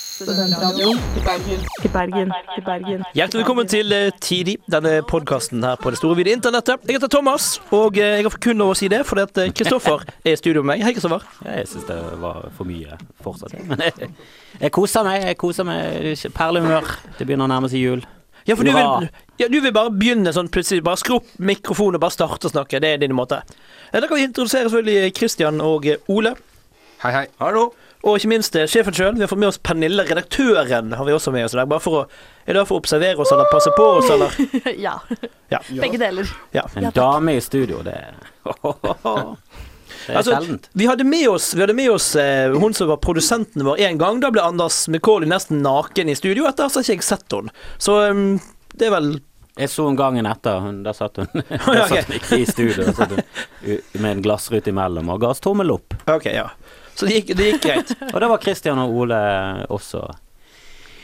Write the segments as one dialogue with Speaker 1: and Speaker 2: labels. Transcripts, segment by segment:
Speaker 1: Studentradioen i Bergen.
Speaker 2: I Mm. Bergen. I Bergen.
Speaker 3: Hjertelig velkommen til eh, Tidi, denne podkasten her på det store vide internettet. Jeg heter Thomas, og eh, jeg har kun lov å si det fordi at eh, Kristoffer er i studio med meg. Hei, Kristoffer.
Speaker 4: Ja, jeg syns det var for mye fortsatt. Men jeg, jeg koser meg. jeg koser meg Perlehumør. Det begynner å nærme seg jul.
Speaker 3: Ja, for du vil,
Speaker 4: Hurra.
Speaker 3: ja, du vil bare begynne sånn plutselig. Bare skru opp mikrofonen og bare starte å snakke. Det er din måte. Eh, Da kan vi introdusere selvfølgelig Christian og eh, Ole.
Speaker 5: Hei, hei.
Speaker 3: Og ikke minst eh, sjefen sjøl. Vi har fått med oss Pernille, redaktøren, har vi også med oss i dag. Bare for å, er det for å observere oss eller passe på oss, eller
Speaker 2: Ja.
Speaker 3: Ja.
Speaker 2: Begge deler.
Speaker 3: Ja.
Speaker 4: En dame i studio, det,
Speaker 3: Ah.
Speaker 4: det er
Speaker 3: Altså,
Speaker 4: sjeldent.
Speaker 3: vi hadde med oss, vi hadde med oss eh, hun som var produsenten vår en gang. Da ble Anders Mekoli nesten naken i studio. Etter så har ikke jeg sett henne. Så um, det er vel
Speaker 4: Jeg så henne gangen etter. Hun, der satt hun,
Speaker 3: ja,
Speaker 4: der satt hun ikke i studio. Der satt hun u- med en glassrute imellom og ga oss tommel opp.
Speaker 3: Ok, ja. Så det gikk, det gikk greit.
Speaker 4: Og da var Christian og Ole også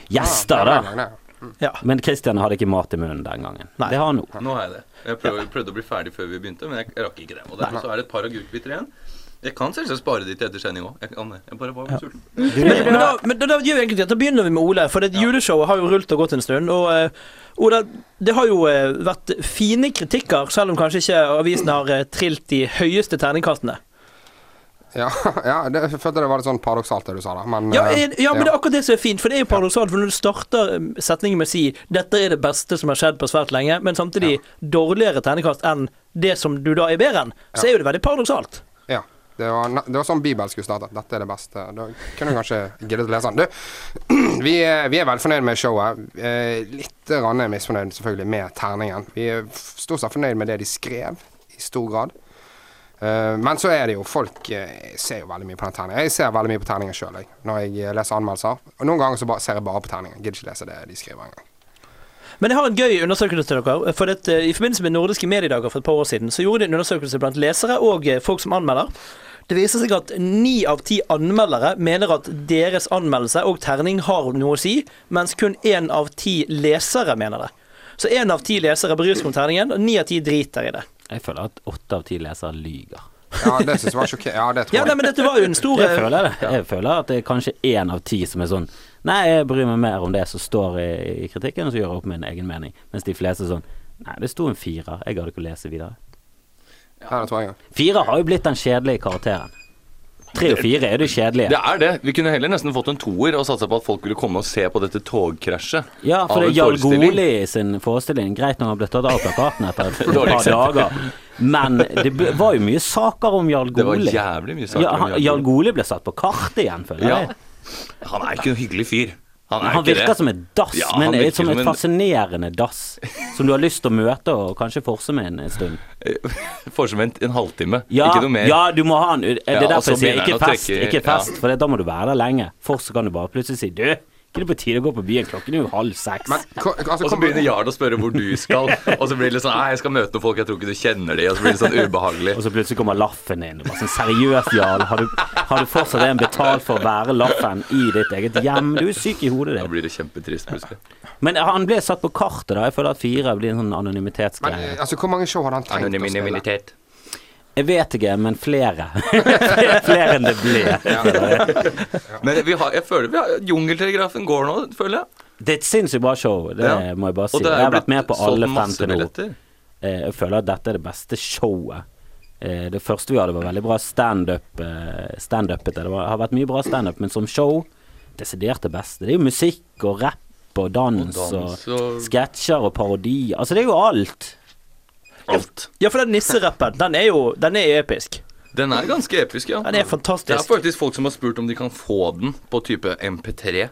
Speaker 4: gjester, da.
Speaker 3: Ja.
Speaker 4: Men Christian hadde ikke mat i munnen den gangen.
Speaker 3: Nei.
Speaker 4: Det har han nå.
Speaker 6: Nå har jeg det. Jeg prøvde, prøvde å bli ferdig før vi begynte, men jeg jeg rakk ikke det. Og derfor så er det et par agurkbiter igjen. Jeg kan selvsagt spare de til etter sending òg. Jeg kan det. Jeg bare var sulten.
Speaker 3: Men, men, da, men da, da gjør vi egentlig det. Da begynner vi med Ole. For det juleshowet har jo rullet og gått en stund. Og eh, Ola, det har jo eh, vært fine kritikker, selv om kanskje ikke avisen har eh, trilt de høyeste terningkastene.
Speaker 5: Ja, ja det, jeg følte det var litt sånn paradoksalt det du sa, da. Men,
Speaker 3: Ja,
Speaker 5: eh,
Speaker 3: eh, ja, men det er akkurat det som er fint. For det er jo paradoksalt. For når du starter eh, setningen med å si 'dette er det beste som har skjedd på svært lenge', men samtidig dårligere terningkast enn det som du da er bedre enn, så er jo det veldig paradoksalt.
Speaker 5: ja. Det var, ne- det var sånn Bibelen skulle starte. Dette er det beste. Da kunne du kanskje giddet å lese den. Du, vi er, vi er velfornøyd med showet. Eh, litt grann er misfornøyd selvfølgelig med terningen. Vi er f- stort sett fornøyd med det de skrev, i stor grad. Eh, men så er det jo folk eh, ser jo veldig mye på den terningen. Jeg ser veldig mye på terningen sjøl, jeg. Når jeg eh, leser anmeldelser. Og noen ganger så bare, ser jeg bare på terningen. Gidder ikke lese det de skriver engang.
Speaker 3: Men jeg har en gøy undersøkelse til dere. For at, eh, I forbindelse med nordiske mediedager for et par år siden så gjorde de en undersøkelse blant lesere og eh, folk som anmelder. Det viser seg at ni av ti anmeldere mener at deres anmeldelse og terning har noe å si, mens kun én av ti lesere mener det. Så én av ti lesere bryr seg om terningen, og ni av ti driter i det.
Speaker 4: Jeg føler at åtte av ti lesere lyger.
Speaker 5: Ja, det syns jeg var sjokkerende. Ja, det tror
Speaker 3: Ja, nei,
Speaker 5: jeg.
Speaker 3: men dette var jo en stor
Speaker 4: Jeg
Speaker 3: eh,
Speaker 4: føler det. Jeg føler at det er kanskje én av ti som er sånn Nei, jeg bryr meg mer om det som står i, i kritikken, og så gjør jeg opp min egen mening. Mens de fleste er sånn Nei, det sto en firer. Jeg gadd ikke å lese videre.
Speaker 5: Ja, det tror jeg.
Speaker 4: Firer har jo blitt den kjedelige karakteren. Tre og fire er jo de
Speaker 6: Det
Speaker 4: kjedelige.
Speaker 6: er det. Vi kunne heller nesten fått en toer og satsa på at folk ville komme og se på dette togkrasjet.
Speaker 4: Ja, for
Speaker 6: av
Speaker 4: det
Speaker 6: en
Speaker 4: er Jarl
Speaker 6: forestilling.
Speaker 4: Goli sin forestilling. Greit når han ble tatt av plakaten etter et
Speaker 6: Dårlig
Speaker 4: par
Speaker 6: eksempel.
Speaker 4: dager, men det ble- var jo mye saker om Jarl
Speaker 6: Det var
Speaker 4: Goli.
Speaker 6: jævlig mye saker
Speaker 4: Ja,
Speaker 6: om
Speaker 4: han,
Speaker 6: Jarl
Speaker 4: Jarl
Speaker 6: Goli.
Speaker 4: Goli ble satt på kartet igjen, føler
Speaker 6: Ja.
Speaker 4: jeg.
Speaker 6: Han er ikke noen hyggelig fyr. Han er
Speaker 4: Han
Speaker 6: ikke
Speaker 4: virker
Speaker 6: det.
Speaker 4: som et dass,
Speaker 6: Ja, han
Speaker 4: men
Speaker 6: virker
Speaker 4: et, som
Speaker 6: som
Speaker 4: et
Speaker 6: en-
Speaker 4: fascinerende dass. Som du har lyst til å møte og kanskje forse med en stund.
Speaker 6: Får som en, en halvtime.
Speaker 4: Ja,
Speaker 6: Ikke noe mer.
Speaker 4: ja du må ha en Det er
Speaker 6: Ja, og
Speaker 4: derfor
Speaker 6: så
Speaker 4: jeg sier
Speaker 6: begynner
Speaker 4: ikke
Speaker 6: han å
Speaker 4: fest,
Speaker 6: trekke-
Speaker 4: ikke fest,
Speaker 6: ja.
Speaker 4: for da må du være der lenge. Forst så kan du bare plutselig si Du, ikke det på tide å gå på byen? Klokken er jo halv seks.
Speaker 5: Men, ko- altså,
Speaker 6: Og så
Speaker 5: kom-
Speaker 6: begynner Jarl å spørre hvor du skal, og så blir det litt sånn Nei, jeg skal møte noen folk, jeg tror ikke du kjenner de, og så blir det sånn ubehagelig.
Speaker 4: og så plutselig kommer laffen inn. Og bare sånn, Seriøst, Jarl. Har du, har du fortsatt en betalt for å være laffen i ditt eget hjem? Du er syk i hodet
Speaker 6: Da
Speaker 4: ditt.
Speaker 6: blir det kjempetrist plutselig.
Speaker 4: Men han ble satt på kartet, da. Jeg føler at fire blir en sånn
Speaker 5: Men
Speaker 4: anonymitetsgreie.
Speaker 5: eh, altså, hvor mange show hadde han tenkt å spille?
Speaker 4: Jeg vet ikke, men flere. flere enn det ble.
Speaker 6: Men vi har, jeg føler vi har Jungeltelegrafen går nå, føler jeg.
Speaker 4: Det er et sinnssykt bra show, det
Speaker 6: Ja.
Speaker 4: må jeg bare si.
Speaker 6: Og det er
Speaker 4: Jeg har
Speaker 6: blitt
Speaker 4: vært med på
Speaker 6: solgt
Speaker 4: alle fem
Speaker 6: masse
Speaker 4: til nå.
Speaker 6: billetter.
Speaker 4: Eh, Jeg føler at dette er det beste showet. Eh, Det første vi hadde, var veldig bra standup. eh, Standupete. Det var- har vært mye bra standup, men som show desidert det beste. Det er jo musikk og rapp og dans
Speaker 6: Og
Speaker 4: og,
Speaker 6: dans og-
Speaker 4: sketsjer og parodier. Altså, det er jo alt.
Speaker 6: Alt.
Speaker 3: Ja, for den nisserappen, den er jo den er episk.
Speaker 6: Den er ganske episk, ja.
Speaker 3: Den er
Speaker 6: Det er
Speaker 3: fantastisk.
Speaker 6: faktisk folk som har spurt om de kan få den på type MP3.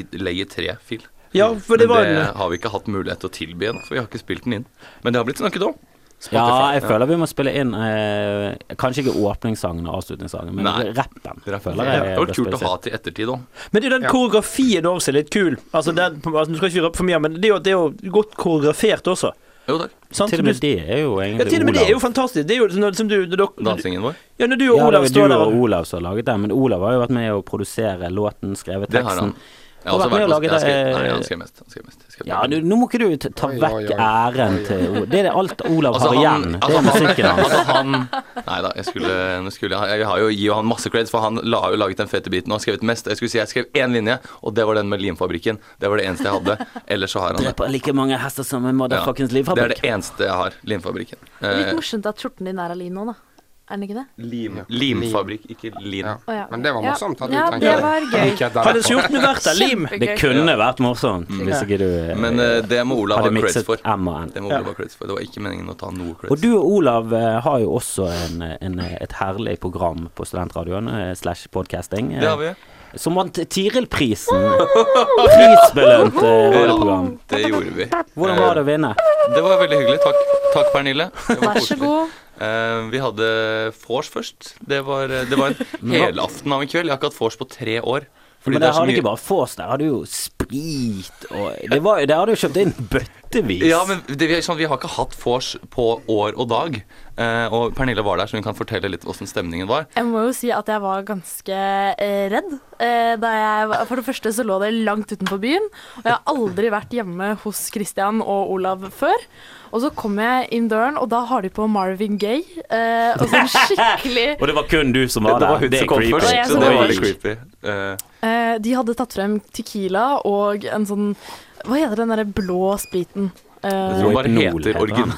Speaker 6: MPG3-fil.
Speaker 3: Ja, for det
Speaker 6: Men
Speaker 3: var
Speaker 6: det
Speaker 3: en
Speaker 6: har vi ikke hatt mulighet til å tilby ennå, for vi har ikke spilt den inn. Men det har blitt snakket om.
Speaker 4: Ja,
Speaker 6: Spotify,
Speaker 4: jeg føler vi må spille inn eh, Kanskje ikke åpningssangen og avslutningssangen, men
Speaker 6: Nei.
Speaker 4: rappen.
Speaker 6: Det er-
Speaker 4: føler
Speaker 6: det hadde
Speaker 4: bør
Speaker 6: vært kult
Speaker 4: spilles
Speaker 6: å ha til ettertid òg.
Speaker 3: Men det er jo den koreografien også er litt kul. Altså, den, altså, du skal ikke røpe for mye, men det er jo, det er jo godt koreografert også.
Speaker 6: Jo takk.
Speaker 3: Sant?
Speaker 4: Til og med det er jo
Speaker 3: Ja,
Speaker 4: egentlig
Speaker 3: til og med det er jo
Speaker 4: Olav.
Speaker 3: fantastisk. Det er jo når, som du, når, dere- når, du-
Speaker 6: Dansingen vår.
Speaker 3: ja, når du og
Speaker 4: Ja, det
Speaker 3: Olav
Speaker 4: var
Speaker 3: står
Speaker 4: du
Speaker 3: der
Speaker 4: og
Speaker 3: og
Speaker 4: Olav som har laget den, men Olav har jo vært med å produsere låten, skrevet
Speaker 6: Det har
Speaker 4: teksten.
Speaker 6: han. Jeg har også
Speaker 4: vært med å
Speaker 6: vært på
Speaker 4: lage
Speaker 6: jeg har skrevet-
Speaker 4: det-
Speaker 6: Nei, han skrev mest. Han skrev mest. Jeg skrev
Speaker 4: Ja,
Speaker 6: mest.
Speaker 4: du, nå må ikke du ta- ta
Speaker 5: Oi, oi,
Speaker 4: vekk
Speaker 5: oi.
Speaker 4: æren til Olav. Det er det alt Olav har igjen.
Speaker 6: Altså, han-
Speaker 4: Det er musikken
Speaker 6: han,
Speaker 4: hans.
Speaker 6: altså han Nei da, jeg skulle, nå skulle jeg, jeg har jo, gir jo han masse creds, for han la, har jo laget den fete biten og har skrevet mest. Jeg skulle si jeg skrev én linje, og det var den med limfabrikken. Det var det eneste jeg hadde. Ellers så har han det.
Speaker 4: Dreper like mange hester som en
Speaker 6: Ja.
Speaker 4: motherfuckings
Speaker 6: Det er
Speaker 4: livfabrikk.
Speaker 6: det eneste jeg har. Limfabrikken.
Speaker 2: Litt
Speaker 6: Eh,
Speaker 2: morsomt at skjorten din er av lin nå, da. Er den ikke det?
Speaker 6: lim, limfabrikk, ikke lin.
Speaker 5: Ja.
Speaker 2: Å, ja.
Speaker 5: Men det var
Speaker 2: Ja.
Speaker 5: morsomt. at du
Speaker 2: Ja,
Speaker 5: trengte
Speaker 2: det
Speaker 5: det.
Speaker 2: var gøy.
Speaker 5: Likhet der
Speaker 3: Hadde
Speaker 5: derfor.
Speaker 3: skjorten vært av lim
Speaker 2: Kjempegøy.
Speaker 4: Det kunne vært morsomt hvis ikke du eh,
Speaker 6: Mm. Men eh, det må Olav
Speaker 4: hadde
Speaker 6: ha creds
Speaker 4: mikset
Speaker 6: for.
Speaker 4: M og N.
Speaker 6: Det må
Speaker 3: Ja.
Speaker 6: Olav ha creds for. Det var ikke meningen å ta noe
Speaker 4: Og
Speaker 6: creds.
Speaker 4: du og Olav eh, har jo også en, eh, en, et herlig program på studentradioen eh, slash podcasting. eh,
Speaker 6: Det har vi.
Speaker 4: Som vant Tiril-prisen. Prisbelønt eh, radioprogram.
Speaker 6: Det gjorde vi.
Speaker 4: Hvordan var det å vinne?
Speaker 6: Det var veldig hyggelig. Takk, Takk Pernille. Det var
Speaker 2: Vær så
Speaker 6: koselig.
Speaker 2: god.
Speaker 6: Eh, vi hadde vors først. Det var, eh, det var en helaften av en kveld. Jeg har ikke hatt vors på tre år. Fordi
Speaker 4: Men
Speaker 6: det
Speaker 4: der
Speaker 6: er så
Speaker 4: hadde du
Speaker 6: mye-
Speaker 4: ikke bare Fås, der hadde du jo sprit og det var, jo- Der hadde du kjøpt inn bøttevis.
Speaker 6: Ja, men det, vi, er sånn, vi har ikke hatt vors på år og dag. Eh, og Pernille var der, så hun kan fortelle litt åssen stemningen var.
Speaker 2: Jeg må jo si at jeg var ganske eh, redd. Eh, da jeg, var- for det første så lå det langt utenfor byen, og jeg har aldri vært hjemme hos Christian og Olav før. Og så kom jeg inn døren, og da har de på Marvin Gaye. Eh, og sånn skikkelig
Speaker 4: Og det var kun du som var der. er creepy.
Speaker 2: først, Det var jeg
Speaker 6: så
Speaker 2: som
Speaker 6: det
Speaker 2: kom
Speaker 6: var litt
Speaker 2: først.
Speaker 6: creepy. Eh,
Speaker 2: eh, De hadde tatt frem tequila og en sånn Hva heter den derre blå spriten?
Speaker 6: jeg
Speaker 2: Eh,
Speaker 6: tror den bare
Speaker 4: Rohypnol
Speaker 6: heter
Speaker 4: heter
Speaker 6: origin,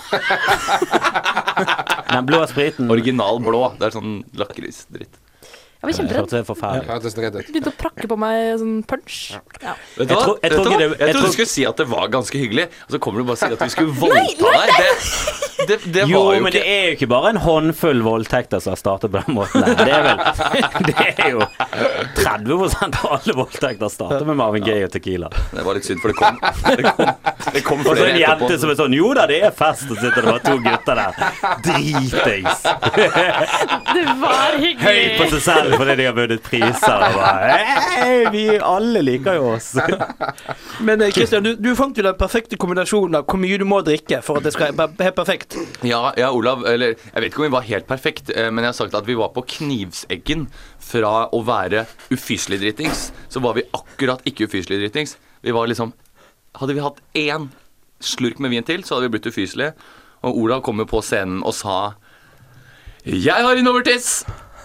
Speaker 4: Den blå spriten.
Speaker 6: original blå. Det er sånn lakrisdritt.
Speaker 2: jeg var
Speaker 4: Det
Speaker 2: kjemperedd.
Speaker 4: hørtes forferdelig ut.
Speaker 5: Hørtes dritt ut.
Speaker 2: Begynte å prakke på meg sånn punch. Ja.
Speaker 6: Vet du
Speaker 4: Jeg
Speaker 6: hva?
Speaker 4: tror- jeg
Speaker 6: Vet
Speaker 4: tror
Speaker 6: du
Speaker 4: ikke
Speaker 6: hva?
Speaker 4: det- jeg
Speaker 6: Jeg trodde
Speaker 4: tror-
Speaker 6: du skulle si at det var ganske hyggelig, og så kommer du bare og sier at vi skulle voldta deg. Det, det, det
Speaker 4: Jo,
Speaker 6: var jo
Speaker 4: men det
Speaker 6: ikke
Speaker 4: er jo ikke bare en håndfull voldtekter som har startet på den måten. her. Det er vel Det er jo 30 av alle voldtekter starter med Marvin Gaye og Tequila.
Speaker 6: Det var litt synd, for det kom, det kom, det kom
Speaker 4: Og så
Speaker 6: flere
Speaker 4: en
Speaker 6: etterpå.
Speaker 4: jente som er sånn Jo da, det er fest, og sitter det bare to gutter der. Dritings.
Speaker 2: Det var
Speaker 4: Høy på
Speaker 2: hyggelig.
Speaker 4: seg selv fordi de har vunnet priser. Og bare, «Hei, vi alle liker jo oss.
Speaker 3: Men eh, Christian, du, du fant jo den perfekte kombinasjonen av hvor mye du må drikke for at det skal være helt perfekt.
Speaker 6: Ja, ja, Olav, eller jeg vet ikke om vi var helt perfekt, eh, men jeg har sagt at vi var på knivseggen fra å være ufyselig dritings, så var vi akkurat ikke ufyselig dritings. Vi var liksom Hadde vi hatt én slurk med vin til, så hadde vi blitt ufyselige. Og Olav kom jo på scenen og sa Jeg har innovertiss!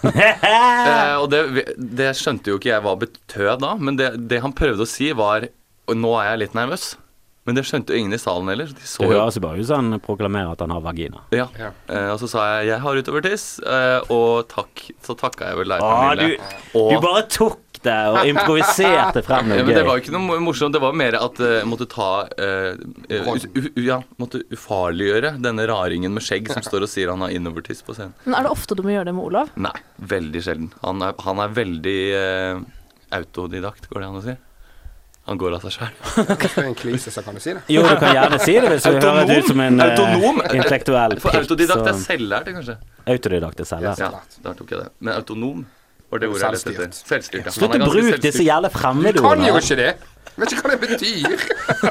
Speaker 6: Eh, og det, det skjønte jo ikke jeg hva betød da, men det, det han prøvde å si, var «Og Nå er jeg litt nervøs. Men det skjønte jo ingen i salen heller. så De så
Speaker 4: Det
Speaker 6: jo
Speaker 4: høres jo bare ut som han proklamerer at han har vagina.
Speaker 6: ja.
Speaker 5: Ja.
Speaker 6: Eh, og så sa jeg 'jeg har utovertiss', eh, og takk. Så takka jeg vel deg,
Speaker 4: Ah, du,
Speaker 6: Pernille.
Speaker 4: du
Speaker 6: og
Speaker 4: bare tok det og improviserte frem
Speaker 6: ja,
Speaker 4: noe
Speaker 6: men Det var
Speaker 4: gøy.
Speaker 6: jo ikke noe mo- morsomt. Det var mer at eh, jeg måtte ta eh, eh, u, u, Ja, måtte ufarliggjøre denne raringen med skjegg som står og sier han har innovertiss på scenen.
Speaker 2: Men er det ofte du må gjøre det med Olav?
Speaker 6: Nei, veldig sjelden. Han er, han er veldig eh, autodidakt, går det an å si? Han går av seg sjæl.
Speaker 5: Hvis det er en klise, så kan du si det.
Speaker 4: Jo, du kan gjerne si det hvis du
Speaker 6: Autonom?
Speaker 4: høres ut som en eh,
Speaker 6: Autonom?
Speaker 4: intellektuell
Speaker 6: For
Speaker 4: prikk
Speaker 6: autodidakt er
Speaker 4: som-
Speaker 6: selvlært, det, kanskje.
Speaker 4: Autodidakt er selv.
Speaker 6: Ja, der tok jeg det. Men autonom var det ordet jeg lette etter. Selvstyrt. ja. altså,
Speaker 4: Slutt
Speaker 6: Han er
Speaker 4: å
Speaker 6: ganske
Speaker 4: bruke disse
Speaker 6: selvstyrt.
Speaker 4: jævla
Speaker 5: Kan jo
Speaker 4: fremmedordene.
Speaker 5: ikke det! Vet ikke hva det betyr.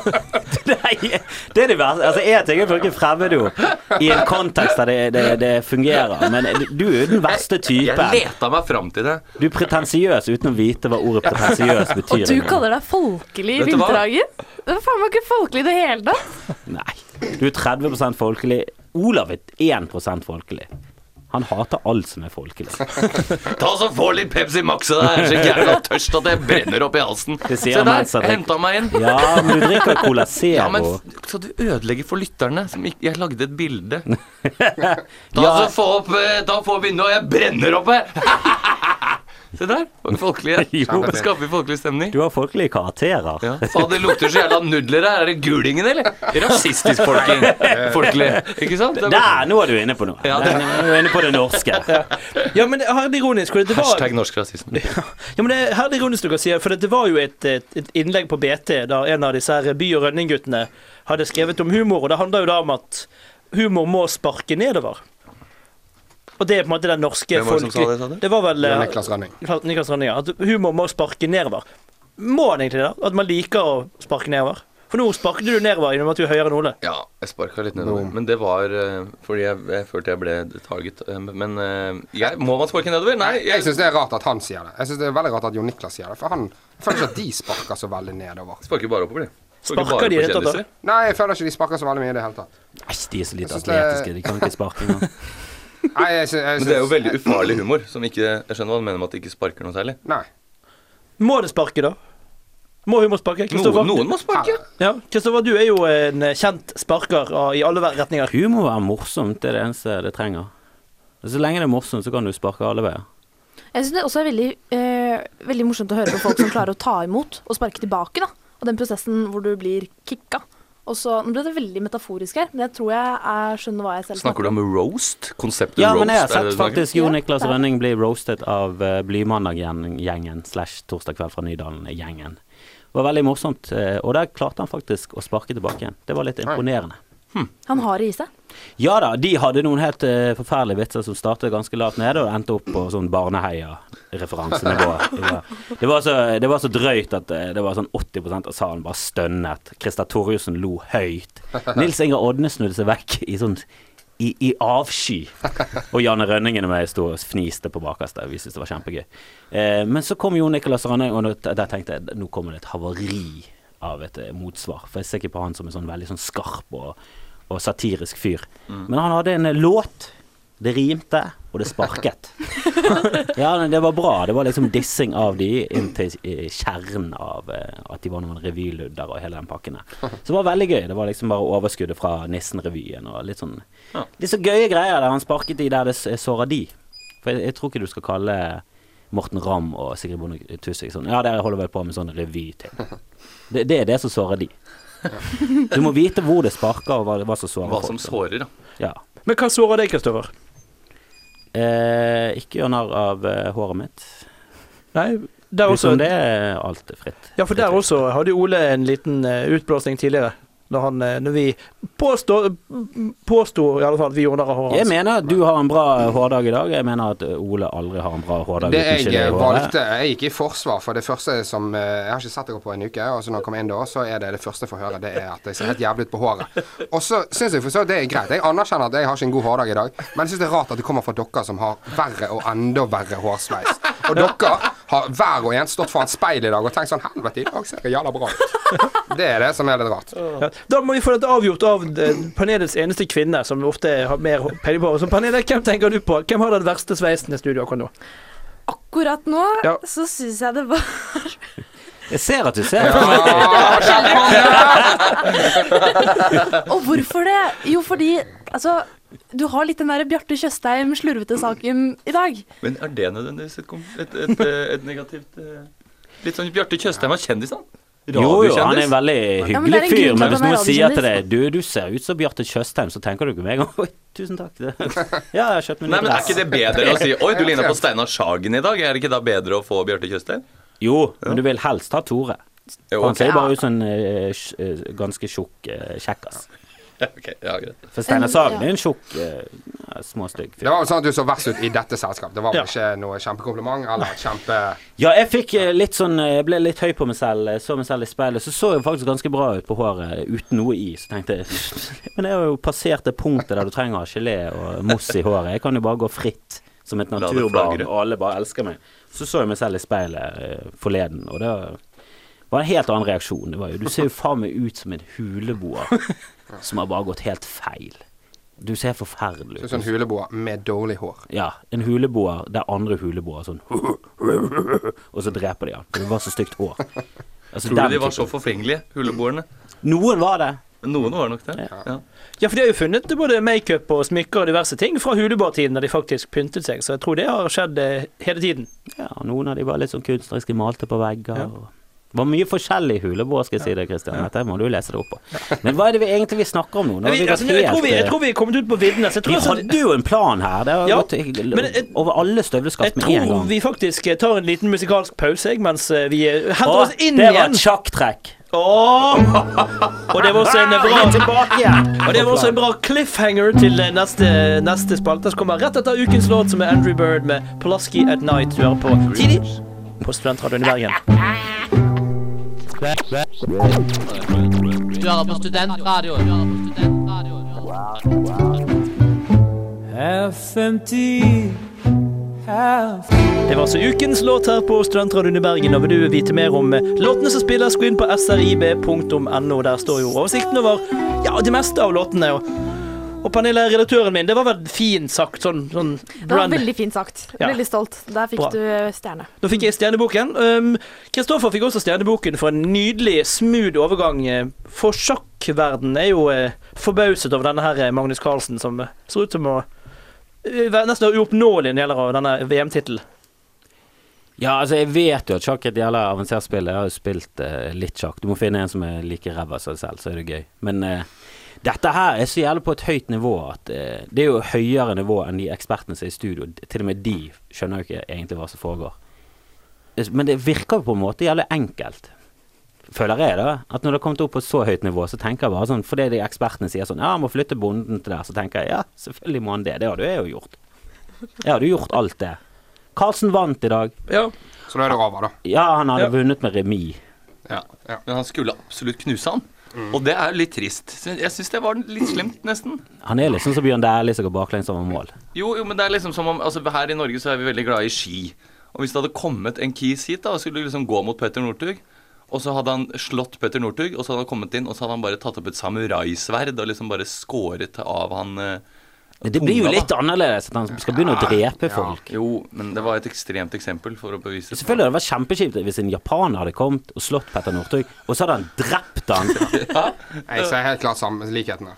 Speaker 4: Nei, det er det verste. Altså, én ting er å bruke fremmedord i en kontekst der det, det, det fungerer, men du er jo den verste
Speaker 6: Jeg
Speaker 4: typen.
Speaker 6: leta meg fram til det.
Speaker 4: Du er pretensiøs uten å vite hva ordet pretensiøs betyr.
Speaker 2: Og du kaller deg folkelig i
Speaker 6: Vet du hva?
Speaker 2: Vinterhagen? Det er faen meg ikke folkelig i det hele tatt.
Speaker 4: Nei. Du er 30 folkelig. Olav er 1 folkelig. Han hater alt som er folkelig.
Speaker 6: Ta så Få litt Pepsi Max av deg, jeg er så gæren og tørst at jeg brenner opp i halsen.
Speaker 4: Det sier
Speaker 6: Se der,
Speaker 4: mens at
Speaker 6: jeg
Speaker 4: jeg-
Speaker 6: henta meg inn.
Speaker 4: Ja, men du drikker Cola Zero.
Speaker 6: Ja, men f- Skal du ødelegge for lytterne? Som ikke, jeg lagde et bilde. Ta
Speaker 4: Ja.
Speaker 6: så få opp eh, Ta få opp vinduet, og jeg brenner opp her! Se der. Folkelighet.
Speaker 4: Jo.
Speaker 6: Det skaper folkelig stemning.
Speaker 4: Du har folkelige karakterer.
Speaker 6: Ja. Faen, det lukter så jævla nudler her. Er det gulingen, eller? Rasistisk folking. Folkelig. Ikke sant? Det er bare-
Speaker 4: Der, nå er du inne på noe.
Speaker 6: Ja, det-
Speaker 4: Nå er du inne på det norske.
Speaker 3: Ja, men her er det ironisk. For det var,
Speaker 6: Hashtag norsk rasisme.
Speaker 3: ja, men det er her er det ironisk du kan si, for det var jo et, et, et innlegg på BT der en av disse her By- og Rønning-guttene hadde skrevet om humor, og det handler jo da om at humor må sparke nedover. Og det er på en måte den norske
Speaker 6: Hvem var det som sa
Speaker 3: folke-
Speaker 6: det, sa du?
Speaker 3: Det var vel eh,
Speaker 5: Niklas Rønning.
Speaker 3: Niklas Niklas Rønning, ja. At humor må sparke nedover. Må han egentlig det? At man liker å sparke nedover? For nå sparket du nedover gjennom at du er høyere enn Ole.
Speaker 6: Ja, jeg sparka litt nedover.
Speaker 5: Boom.
Speaker 6: Men det var eh, fordi jeg, jeg følte jeg ble target. eh, Men eh, jeg, må man sparke nedover? Nei.
Speaker 5: Jeg syns det er rart at han sier det. Jeg synes det er veldig rart at Jon Niklas sier det. For han jeg føler ikke at de sparker så veldig nedover.
Speaker 6: sparker bare oppover, de.
Speaker 3: Sparker de i det hele tatt, da?
Speaker 5: Nei, jeg føler ikke de sparker så veldig mye i det hele tatt.
Speaker 4: Æsj, de er så lite
Speaker 5: Jeg synes det er-
Speaker 4: atletiske. De kan ikke sparke engang.
Speaker 5: Nei, jeg synes, jeg
Speaker 6: Men det er jo
Speaker 5: synes-
Speaker 6: veldig ufarlig humor. Som ikke, jeg skjønner hva du mener med at det ikke sparker noe særlig.
Speaker 5: Nei.
Speaker 3: Må det sparke, da? Må humor sparke?
Speaker 6: Noen,
Speaker 3: Kristoffer,
Speaker 6: noen må sparke.
Speaker 3: ja, Kristoffer, du er jo en kjent sparker av- i alle retninger.
Speaker 4: Humor må være morsomt, det er det eneste det trenger. Så lenge det er morsomt, så kan du sparke alle veier.
Speaker 2: Jeg syns det også er veldig, eh, veldig morsomt å høre på folk som klarer å ta imot og sparke tilbake. da. Og den prosessen hvor du blir kicka. Og så, Nå ble det veldig metaforisk her, men jeg tror jeg er, skjønner hva jeg selv
Speaker 6: Snakker du om roast? Konseptet
Speaker 4: Ja,
Speaker 6: roast?
Speaker 4: men jeg har
Speaker 6: er det
Speaker 4: sett
Speaker 6: du snakker om?
Speaker 4: faktisk Jo
Speaker 2: Ja,
Speaker 4: Niklas
Speaker 2: det er-
Speaker 4: Rønning bli roastet av eh, Blymandag-gjengen slash Torsdag kveld fra Nydalen-gjengen. Det var veldig morsomt, eh, og der klarte han faktisk å sparke tilbake igjen. Det var litt imponerende.
Speaker 2: Han har det i seg.
Speaker 4: Ja da, de hadde noen helt eh, forferdelige vitser som startet ganske lavt nede og endte opp på sånn barneheia-referansenivå. Det var- Det, var så- det var så drøyt at eh, det var sånn 80 av salen bare stønnet. Christer Torjussen lo høyt. Nils Inger Odne snudde seg vekk i sånn i, i avsky. Og Janne Rønningen og jeg sto og fniste på bakerste. Vi syntes det var kjempegøy. Eh, men så kom Jon Nicolas Rønning, og nå- der tenkte jeg nå kommer det et havari av et eh, motsvar. For jeg ser ikke på han som en sånn veldig sånn skarp og, og satirisk fyr. Men han hadde en eh, låt. Det rimte, og det sparket. ja, men Det var bra. Det var liksom dissing av de inn til eh, kjernen av eh, at de var noen revyludder og hele den pakken der. Så det var veldig gøy. Det var liksom bare overskuddet fra Nissen-revyen og litt sånn Litt så gøye greier der han sparket de der det s- såra de. For jeg, jeg tror ikke du skal kalle Morten Ramm og Sigrid Bonde Tusvik sånn Ja, dere holder vel på med sånn revyting. Det, det er det som sårer de. Du må vite hvor det sparker, og hva, hva som sårer
Speaker 6: Hva som
Speaker 4: folk.
Speaker 6: sårer, da.
Speaker 4: Ja.
Speaker 3: Men hva sårer deg, Kristoffer?
Speaker 4: Eh, ikke gjør narr av eh, håret mitt.
Speaker 3: Nei, der også,
Speaker 4: Utenom Liksom, det er alt fritt.
Speaker 3: ja, for der også hadde Ole en liten eh, utblåsning tidligere. Når, han, eh, når vi påstå- påsto i alle fall at vi gjorde narr av håret
Speaker 4: Jeg
Speaker 3: hans.
Speaker 4: mener at du har en bra hårdag i dag. Jeg mener at Ole aldri har en bra hårdag.
Speaker 5: Det
Speaker 4: uten gelé i
Speaker 5: jeg
Speaker 4: håret.
Speaker 5: valgte Jeg gikk i forsvar for det første som eh, Jeg har ikke sett dere på en uke, og så når jeg kom inn da, så er det det første jeg får høre, det er at jeg ser helt jævlig ut på håret. Og så syns jeg for så vidt det er greit. Jeg anerkjenner at jeg har ikke en god hårdag i dag, men jeg syns det er rart at det kommer fra dere som har verre og enda verre hårsveis. Og dere har hver og en stått foran speil i dag og tenkt sånn Helvete, i dag ser jeg jævla bra ut. Det er det som er litt rart.
Speaker 3: Ja. Da må vi få dette avgjort av eh, panelets eneste kvinne, som ofte har mer hå- peiling på håret. Så panelet, hvem tenker du på? Hvem har den verste sveisen i studio akkurat nå?
Speaker 2: Akkurat nå
Speaker 3: Ja.
Speaker 2: så syns jeg det var
Speaker 4: Jeg ser at du ser.
Speaker 5: Ja, der kom det!
Speaker 2: Og hvorfor det? Jo, fordi altså Du har litt den der Bjarte Tjøstheim slurvete-saken i dag.
Speaker 6: Men er det nødvendigvis et, kom- et, et, eh, et negativt eh, Litt sånn Bjarte Tjøstheim var kjendis, han.
Speaker 4: Jo, jo, han er en
Speaker 6: Radiokjendis.
Speaker 4: veldig
Speaker 2: Ja, men det
Speaker 4: hyggelig fyr,
Speaker 2: er en grunn til
Speaker 4: men
Speaker 2: at
Speaker 4: hvis
Speaker 2: han er
Speaker 4: noen sier til deg
Speaker 2: radiokjendis.
Speaker 4: Du, du ser ut som Bjarte Tjøstheim, så tenker du ikke meg. Oi, tusen takk. Det. Ja, jeg har kjøpt meg
Speaker 6: Nei,
Speaker 4: ny
Speaker 6: men Er
Speaker 4: dress.
Speaker 6: ikke det bedre å si Oi, du ligner på Steinar Sagen i dag. Er det ikke da bedre å få Bjarte Tjøstheim?
Speaker 4: Jo, men du vil helst ha Tore.
Speaker 6: Jo,
Speaker 4: Han
Speaker 6: ok.
Speaker 4: ser bare ut som en eh, sj- eh, ganske tjukk eh, kjekkas.
Speaker 6: Ok, ja, greit.
Speaker 4: For Steinar
Speaker 2: En-
Speaker 4: Sagen
Speaker 2: ja.
Speaker 4: er en tjukk, eh, ja, småstygg
Speaker 5: Det
Speaker 4: fyr.
Speaker 5: var vel sånn at du så verst ut i dette selskapet. Det var
Speaker 3: Ja.
Speaker 5: vel ikke noe kjempekompliment eller kjempe...
Speaker 4: Ja, jeg fikk eh, litt sånn eh, Jeg ble litt høy på meg selv. Jeg så meg selv i speilet. Så så jeg faktisk ganske bra ut på håret uten noe i. Så tenkte jeg Men jeg har jo passert det punktet der du trenger gelé og moss i håret. Jeg kan jo bare gå fritt som et
Speaker 6: det
Speaker 4: naturbarn,
Speaker 6: flagre.
Speaker 4: og alle bare elsker meg. Så så jeg meg selv i speilet eh, forleden, og det var en helt annen reaksjon. Det var jo Du ser jo faen meg ut som en huleboer som har bare gått helt feil. Du ser forferdelig
Speaker 5: Sånn
Speaker 4: ut.
Speaker 5: som en huleboer med dårlig hår.
Speaker 4: Ja, en huleboer der andre huleboere sånn Og så dreper de han. for Det var så stygt hår. Altså,
Speaker 6: Tror
Speaker 4: den
Speaker 6: du de var så
Speaker 4: typen.
Speaker 6: forfengelige, huleboerne?
Speaker 4: Noen var det.
Speaker 6: Men Noen var nok det. Ja.
Speaker 3: Ja, for de har jo funnet både makeup og smykker og diverse ting fra hulebartiden da de faktisk pyntet seg, så jeg tror det har skjedd eh, hele tiden.
Speaker 4: Ja, Noen av de var litt sånn kunstneriske, malte på vegger.
Speaker 3: Ja.
Speaker 4: og Det var mye forskjellig huleboer, skal jeg si deg, Christian. Dette må du lese det opp på. Men hva er det vi egentlig vi snakker om nå? nå har
Speaker 3: Vi,
Speaker 4: vi gått
Speaker 3: altså, jeg, tror vi, jeg
Speaker 4: helt,
Speaker 3: tror vi er kommet ut på viddene. så jeg
Speaker 4: eh, vi
Speaker 3: tror, altså-
Speaker 4: hadde jo en plan her. Det har
Speaker 3: Ja,
Speaker 4: gått
Speaker 3: men jeg-
Speaker 4: over alle
Speaker 3: jeg
Speaker 4: støvleskaft med en
Speaker 3: tror
Speaker 4: gang.
Speaker 3: vi faktisk eh, tar en liten musikalsk pause jeg, mens eh, vi eh, henter
Speaker 4: Å,
Speaker 3: oss inn
Speaker 4: det var
Speaker 3: igjen.
Speaker 4: et sjakktrekk.
Speaker 3: Åh! Og det var også en
Speaker 4: Vi er
Speaker 3: bra
Speaker 4: tilbake igjen.
Speaker 3: og det var også en bra cliffhanger til eh, neste, neste spalte som kommer rett etter ukens låt, som er Andrew Bird med 'Polaski at Night'. Du hører på tidlig på Studentradioen i Bergen.
Speaker 7: Du hører på studentradioen. Du hører på studentradioen.
Speaker 3: Det var altså ukens låt her på Studentradioen i Bergen. Og vil du vite mer om eh, låtene som spilles, gå inn på srib.no. Der står jo oversikten over ja, det meste av låtene. Og, og Pernille, redaktøren min, det var vel fint sagt. Sånn, sånn
Speaker 2: Det var
Speaker 3: brand.
Speaker 2: veldig fint sagt.
Speaker 3: Ja.
Speaker 2: Veldig stolt. Der fikk
Speaker 3: Bra.
Speaker 2: du stjerne.
Speaker 3: Nå fikk jeg Stjerneboken. Um, Kristoffer fikk også Stjerneboken for en nydelig, smooth overgang. eh, For sjakkverden er jo eh, forbauset over denne her eh, Magnus Carlsen, som eh, ser ut som å eh, være nesten uoppnåelig når det gjelder denne VM-tittelen.
Speaker 4: Ja, altså jeg vet jo at sjakk er et jævla avansert spill. Jeg har jo spilt eh, litt sjakk. Du må finne en som er like ræva som deg selv, så er det gøy. Men eh, dette her er så jævlig på et høyt nivå at eh, det er jo høyere nivå enn de ekspertene som er i studio. Til og med de skjønner jo ikke egentlig hva som foregår. Men det virker jo på en måte jævlig enkelt. Føler jeg da, at når det har kommet opp på et så høyt nivå, så tenker jeg bare sånn, fordi de ekspertene sier sånn, ja, han må flytte bonden til der, så tenker jeg, ja, selvfølgelig må han det, det har du jo gjort. Jeg hadde jo gjort alt det. Carlsen vant i dag,
Speaker 3: Ja.
Speaker 5: Så da er det over, da.
Speaker 4: ja, han hadde
Speaker 3: Ja.
Speaker 4: vunnet med remis.
Speaker 5: Ja, ja.
Speaker 6: Men han skulle absolutt knuse han. Og det er jo litt trist. Så Jeg syns det var litt slemt, nesten.
Speaker 4: Han er liksom som Bjørn Dæhlie som går baklengs over mål.
Speaker 6: Jo, jo, men det er liksom som om Altså, her i Norge så er vi veldig glade i ski. Og hvis det hadde kommet en Kis hit da, og skulle liksom gå mot Petter Northug, og så hadde han slått Petter Northug, og så hadde han kommet inn, og så hadde han bare tatt opp et samuraisverd og liksom bare skåret av han eh,
Speaker 4: Det blir jo
Speaker 6: tunga, da.
Speaker 4: litt annerledes at han skal begynne å drepe folk.
Speaker 6: Jo, men det var et ekstremt eksempel for å bevise
Speaker 4: Selvfølgelig hadde det vært kjempekjipt hvis en japaner hadde kommet og slått Petter Northug, og så hadde han drept han.
Speaker 5: Jeg ser helt klart sammen likhetene.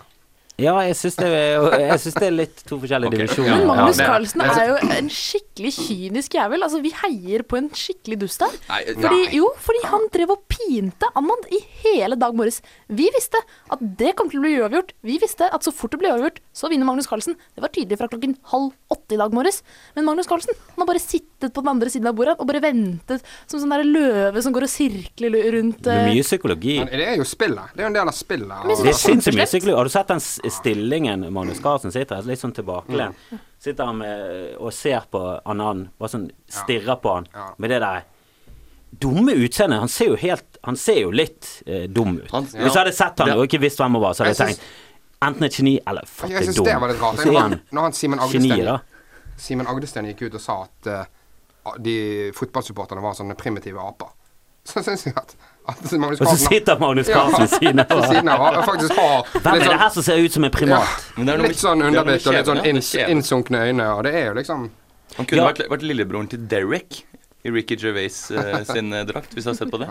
Speaker 4: Ja, jeg syns det, er- jeg synes det er litt to forskjellige
Speaker 6: Ok.
Speaker 4: divisjoner.
Speaker 2: Men
Speaker 6: Ja,
Speaker 2: Magnus
Speaker 6: det er-
Speaker 2: Carlsen
Speaker 6: det er-
Speaker 2: er jo en skikkelig kynisk jævel. Altså, vi heier på en skikkelig dust der.
Speaker 6: Nei, ja.
Speaker 2: Fordi, jo, fordi han drev og pinte Amand i hele dag morges. Vi visste at det kom til å bli uavgjort. Vi visste at så fort det ble uavgjort, så vinner Magnus Carlsen. Det var tydelig fra klokken halv åtte i dag morges. Men Magnus Carlsen han har bare sittet på den andre siden av bordet og bare ventet som sånn der løve som går og sirkler rundt
Speaker 4: Det
Speaker 2: eh,
Speaker 4: er mye psykologi.
Speaker 5: Men det er jo spillet. Det er jo en del av spillet.
Speaker 2: synes
Speaker 4: Det er
Speaker 5: Og,
Speaker 4: sinnssykt mye
Speaker 2: Kjempeslett.
Speaker 4: psykologi. Har du sett den s- stillingen Magnus Carlsen sitter i? Litt sånn tilbakelent.
Speaker 5: Mm.
Speaker 4: Sitter han med, og ser på Anan, bare sånn stirrer på han
Speaker 5: Ja.
Speaker 4: med det der dumme utseendet. Han ser jo helt Han ser jo litt eh, dum ut.
Speaker 6: Han-
Speaker 4: Hvis jeg hadde sett han
Speaker 6: Ja.
Speaker 4: og ikke visst hvem han var, så hadde jeg
Speaker 5: Jeg syns-
Speaker 4: tenkt Enten et geni eller
Speaker 5: jeg
Speaker 4: fattig
Speaker 5: syns
Speaker 4: dum.
Speaker 5: det var litt
Speaker 4: Og
Speaker 5: rart.
Speaker 4: så er
Speaker 5: Når han,
Speaker 4: han
Speaker 5: når han Simen
Speaker 4: geniet,
Speaker 5: Agdesten
Speaker 4: da.
Speaker 5: Simen Agdesten gikk ut og sa at eh, de fotballsupporterne var sånne primitive aper. Så syns jeg at, at Magnus
Speaker 4: Og så
Speaker 5: Carlsen
Speaker 4: sitter Magnus Carlsen ved siden av.
Speaker 5: ved siden av har- faktisk har
Speaker 4: Hvem er
Speaker 5: litt
Speaker 4: det her
Speaker 5: sånn,
Speaker 4: som ser ut som en primat?
Speaker 6: Men det er noe med-
Speaker 5: litt sånn
Speaker 6: det er noe med
Speaker 5: underbitt og litt sånn
Speaker 6: kjevene,
Speaker 5: inns,
Speaker 6: kjevene.
Speaker 5: innsunkne øyne, og det er jo liksom
Speaker 6: Han kunne
Speaker 4: Ja.
Speaker 6: vært, vært lillebroren til Derek i Ricky Gervais eh, sin eh, drakt, hvis du har sett på det.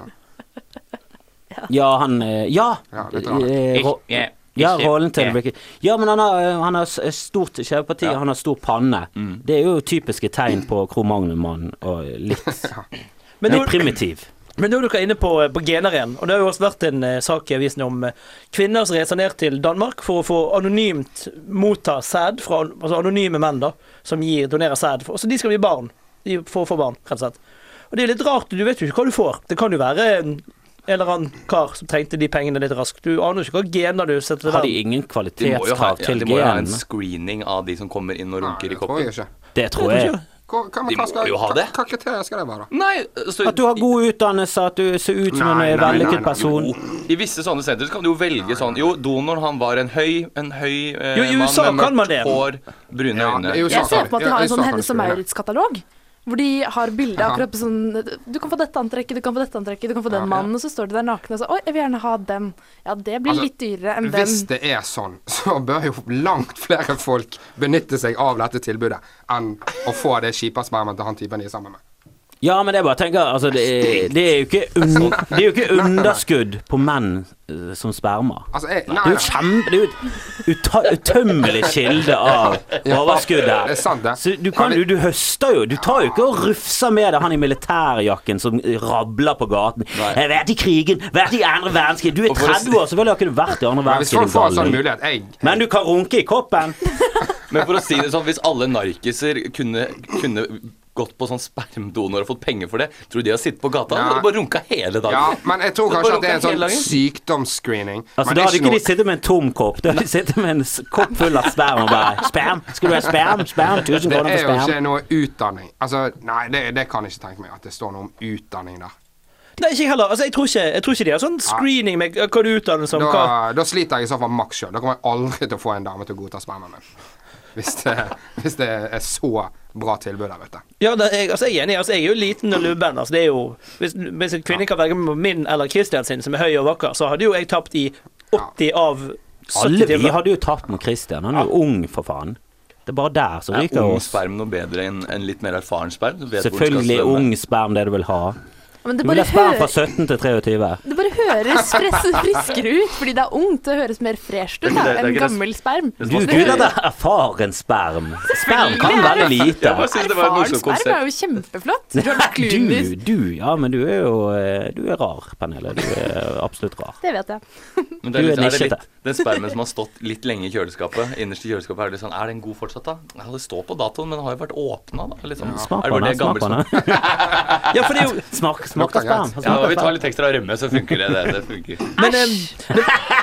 Speaker 4: Ja, han eh, Ja!
Speaker 5: Ja, litt rart.
Speaker 4: Eh, Ro- ja, rollen til Ricky. Ja, men han har, eh, han har s- stort kjeveparti,
Speaker 6: Ja.
Speaker 4: han har stor panne.
Speaker 6: Mm.
Speaker 4: Det er jo typiske tegn på Cro-Magnon-mannen, og litt,
Speaker 3: Men
Speaker 4: litt
Speaker 3: nå,
Speaker 4: primitiv.
Speaker 3: men nå er dere inne på, eh, på gener igjen, og det har jo også vært en eh, sak i avisen om eh, kvinner som reiser ned til Danmark for å få anonymt motta sæd fra altså anonyme menn da, som gir, donerer sæd. for- Og så de skal bli barn. De får, får barn, rett og slett. Og det er litt rart, du vet jo ikke hva du får. Det kan jo være en en eller annen kar som trengte de pengene litt raskt. Du aner jo ikke hva gener du setter til
Speaker 4: Har de
Speaker 3: verden.
Speaker 4: ingen
Speaker 6: De må jo ha,
Speaker 4: kvalitetskrav
Speaker 6: ja,
Speaker 4: til
Speaker 6: de må jo ha en
Speaker 4: genene?
Speaker 6: screening av de som kommer inn og
Speaker 5: Nei,
Speaker 6: runker
Speaker 5: det
Speaker 6: i
Speaker 5: tror jeg
Speaker 6: koppen.
Speaker 5: ikke.
Speaker 4: Det tror jeg.
Speaker 5: Hva, hva,
Speaker 6: De
Speaker 5: hva
Speaker 6: må
Speaker 5: skal,
Speaker 6: jo ha
Speaker 5: hva,
Speaker 6: det.
Speaker 5: hva kriterier skal det være?
Speaker 6: Nei, altså,
Speaker 4: At du har god utdannelse, at du ser ut som en
Speaker 5: Nei,
Speaker 4: eh,
Speaker 5: nei, nei,
Speaker 4: vellykket
Speaker 5: nei.
Speaker 4: person.
Speaker 6: I visse sånne sentre så kan du jo velge sånn Jo, donoren han var en høy En høy eh,
Speaker 3: Jo, i USA
Speaker 6: mann
Speaker 3: kan man det.
Speaker 6: med mørkt hår, brune
Speaker 5: Ja,
Speaker 6: øyne.
Speaker 5: det er jo
Speaker 2: Jeg
Speaker 5: sant,
Speaker 2: ser på at de
Speaker 5: ja,
Speaker 2: har
Speaker 5: det
Speaker 2: en
Speaker 5: er
Speaker 2: sånn
Speaker 5: sant,
Speaker 2: Hennes
Speaker 5: det
Speaker 2: og
Speaker 5: er det.
Speaker 2: Maurits-katalog. Hvor de har bilde
Speaker 5: Aha.
Speaker 2: akkurat på sånn Du kan få dette antrekket, du kan få dette antrekket, du kan få den mannen, og så står de der nakne og så Oi, jeg vil gjerne ha den. Ja, det blir
Speaker 5: Altså,
Speaker 2: litt dyrere enn den.
Speaker 5: Hvis det er sånn, så bør jo langt flere folk benytte seg av dette tilbudet enn å få det kjipe spermaet til han typen de er sammen med.
Speaker 4: Ja, men det er bare å tenke altså, det, er- det, er jo ikke un, det er jo ikke underskudd på menn eh, som sperma.
Speaker 5: Altså, jeg, nei,
Speaker 4: Det er jo
Speaker 5: nei.
Speaker 4: kjempe Det er jo et utta- utømmelig kilde av overskudd her.
Speaker 5: Det er sant, det.
Speaker 4: Så du, kan, jo- du høster jo. Du tar jo ikke og rufser med deg han i militærjakken som rabler på gaten. 'Jeg har vært i krigen, vært i andre verdenskrig Du er
Speaker 6: Og for å si-
Speaker 4: 30 år, selvfølgelig har ikke du vært i andre
Speaker 5: Men hvis folk får en sånn
Speaker 4: verdenskrig.
Speaker 5: mulighet jeg,
Speaker 4: Men du kan runke i koppen.
Speaker 6: Men for å si det sånn, hvis alle narkiser kunne, kunne gått på sånn spermdonor og fått penger for det, tror du de har sittet på gata
Speaker 5: Ja.
Speaker 6: og bare runka hele dagen?
Speaker 5: Ja, men jeg tror
Speaker 6: Det
Speaker 5: kanskje
Speaker 6: bare
Speaker 5: at det er en
Speaker 6: runker hele
Speaker 5: sånn
Speaker 6: dagen.
Speaker 5: sykdomsscreening.
Speaker 4: Altså,
Speaker 5: Men
Speaker 4: da
Speaker 5: det er
Speaker 4: hadde ikke de
Speaker 5: noe-
Speaker 4: sittet med en tom kopp. Da hadde de sittet med en s- kopp full av sperm og bare 'Sperm? Skal du ha sperm? Sperm? 1000
Speaker 5: Det
Speaker 4: kroner for
Speaker 5: er jo
Speaker 4: sperm?'
Speaker 5: ikke noe utdanning. Altså, nei, det, det kan jeg ikke tenke meg. At det står noe om utdanning der.
Speaker 3: Nei, ikke jeg heller. Altså, jeg tror ikke, jeg tror ikke de har sånn screening med hva du uttaler som.
Speaker 5: Da,
Speaker 3: Hva.
Speaker 5: da sliter jeg i så fall maks sjøl. Da kommer jeg aldri til å få en dame til å godta spermaen min. Hvis det, hvis det er så bra tilbud der ute.
Speaker 3: Ja, da, jeg, altså, jeg er enig. Altså, jeg er jo liten og lubben. Altså, det er jo, hvis, hvis en kvinne kan velge mellom min eller Christian sin, som er høy og vakker, så hadde jo jeg tapt i 80 av 70
Speaker 4: Alle vi
Speaker 3: timer.
Speaker 4: hadde jo tapt mot Christian. Han er jo ung, for faen. Det er bare der som
Speaker 6: Er
Speaker 4: ryker
Speaker 6: ung
Speaker 4: oss.
Speaker 6: sperm noe bedre enn enn litt mer erfaren sperm? Du vet hvor den skal
Speaker 4: Selvfølgelig
Speaker 6: svømme.
Speaker 4: ung sperm, det du vil ha.
Speaker 2: Men det
Speaker 4: Du vil
Speaker 2: bare,
Speaker 4: ha sperm
Speaker 2: hø
Speaker 4: fra 17 til 23.
Speaker 2: det bare høres fress- friskere ut fordi det er ungt. Det høres mer fresh
Speaker 6: Det er
Speaker 2: ut
Speaker 6: ikke det-
Speaker 2: da,
Speaker 6: det er sånn-
Speaker 2: enn
Speaker 6: ikke det-
Speaker 2: gammel sperm.
Speaker 6: Det
Speaker 4: Du
Speaker 6: smaker-
Speaker 4: guder deg erfaren sperm. Sperm kan
Speaker 2: Selvfølgelig er
Speaker 4: være lite.
Speaker 6: Jeg bare synes det var et
Speaker 2: Erfaren
Speaker 6: morsomt
Speaker 2: sperm
Speaker 6: konsept.
Speaker 2: er jo kjempeflott. Robert
Speaker 4: Du,
Speaker 2: Clooney.
Speaker 4: du, ja, men du er jo eh, Du er rar, Pernille. Du er absolutt rar.
Speaker 2: Det vet jeg.
Speaker 6: Men det
Speaker 4: Du
Speaker 6: er
Speaker 4: er
Speaker 6: litt, er det
Speaker 4: nisjete.
Speaker 6: litt, den spermen som har stått litt lenge i kjøleskapet, innerst i kjøleskapet, er det sånn Er den god fortsatt, da? Ja, det står på datoen, men den har jo vært åpna, da. Liksom.
Speaker 4: Smak
Speaker 6: er
Speaker 4: på den. Smak
Speaker 6: det bare det gamle
Speaker 4: på
Speaker 6: som-
Speaker 4: den.
Speaker 3: Ja, for det er jo
Speaker 4: Smak, smak
Speaker 5: Lukter
Speaker 4: av sperm.
Speaker 5: greit.
Speaker 4: Smak
Speaker 6: Ja,
Speaker 4: av
Speaker 6: vi tar
Speaker 4: sperm.
Speaker 6: litt ekstra rømme, så funker det. Det, det funker.
Speaker 3: Men eh,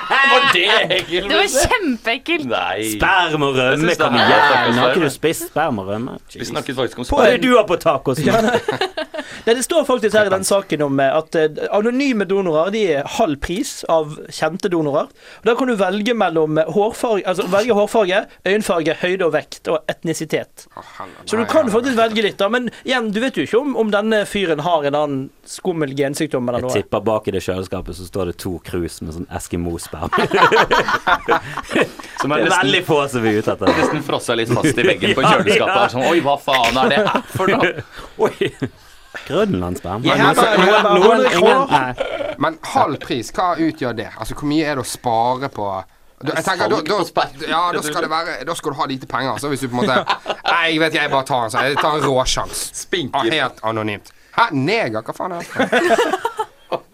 Speaker 6: Var det ekkelt?
Speaker 2: Det var kjempeekkelt.
Speaker 6: Nei.
Speaker 4: Sperm og
Speaker 6: Jeg
Speaker 4: rømme,
Speaker 6: synes det
Speaker 4: kom
Speaker 6: er-
Speaker 4: igjen! Har ikke
Speaker 6: Sperm.
Speaker 4: du spist sperm og rømme?
Speaker 6: Vi snakket faktisk om
Speaker 4: Hva er
Speaker 6: sperm.
Speaker 4: det du har på tacos?
Speaker 3: nei, det står faktisk her i den saken om eh, at eh, anonyme donorer de er halv pris av kjente donorer. Og Da kan du velge mellom eh, hårfarge, altså velge hårfarge, øyenfarge, høyde og vekt og etnisitet.
Speaker 5: Å, helvete.
Speaker 3: Så du
Speaker 5: Nei,
Speaker 3: kan
Speaker 5: nei,
Speaker 3: faktisk
Speaker 5: nei.
Speaker 3: velge litt, da. Men igjen, du vet jo ikke om, om denne fyren har en annen skummel gensykdom eller
Speaker 4: Jeg
Speaker 3: noe.
Speaker 4: tipper bak i det kjøleskapet så står det to krus med sånn Eskimo-sperm.
Speaker 6: Som
Speaker 4: Det
Speaker 6: er
Speaker 4: er
Speaker 6: nesten,
Speaker 4: veldig få som er ute etter det.
Speaker 6: nesten frossa litt fast i veggen på kjøleskapet. Er sånn, Oi, hva faen er det her for noe?
Speaker 4: Oi! Grønlandssperm.
Speaker 3: Jeg har bare- jeg har bare
Speaker 4: Noen,
Speaker 3: hundre
Speaker 4: ingen,
Speaker 3: kroner.
Speaker 4: nei.
Speaker 5: Men halv pris, hva utgjør det? Altså, hvor mye er det å spare på da, jeg tenker, da,
Speaker 6: Salg på
Speaker 5: da,
Speaker 6: sperm.
Speaker 5: ja, da, skal det være, da skal du ha lite penger. Altså, hvis du på en måte Nei, jeg vet ikke, jeg bare tar en sånn. Jeg tar en råsjans. Ah,
Speaker 6: Spinker.
Speaker 5: helt anonymt. Hæ, neger? Hva faen er det? for noe?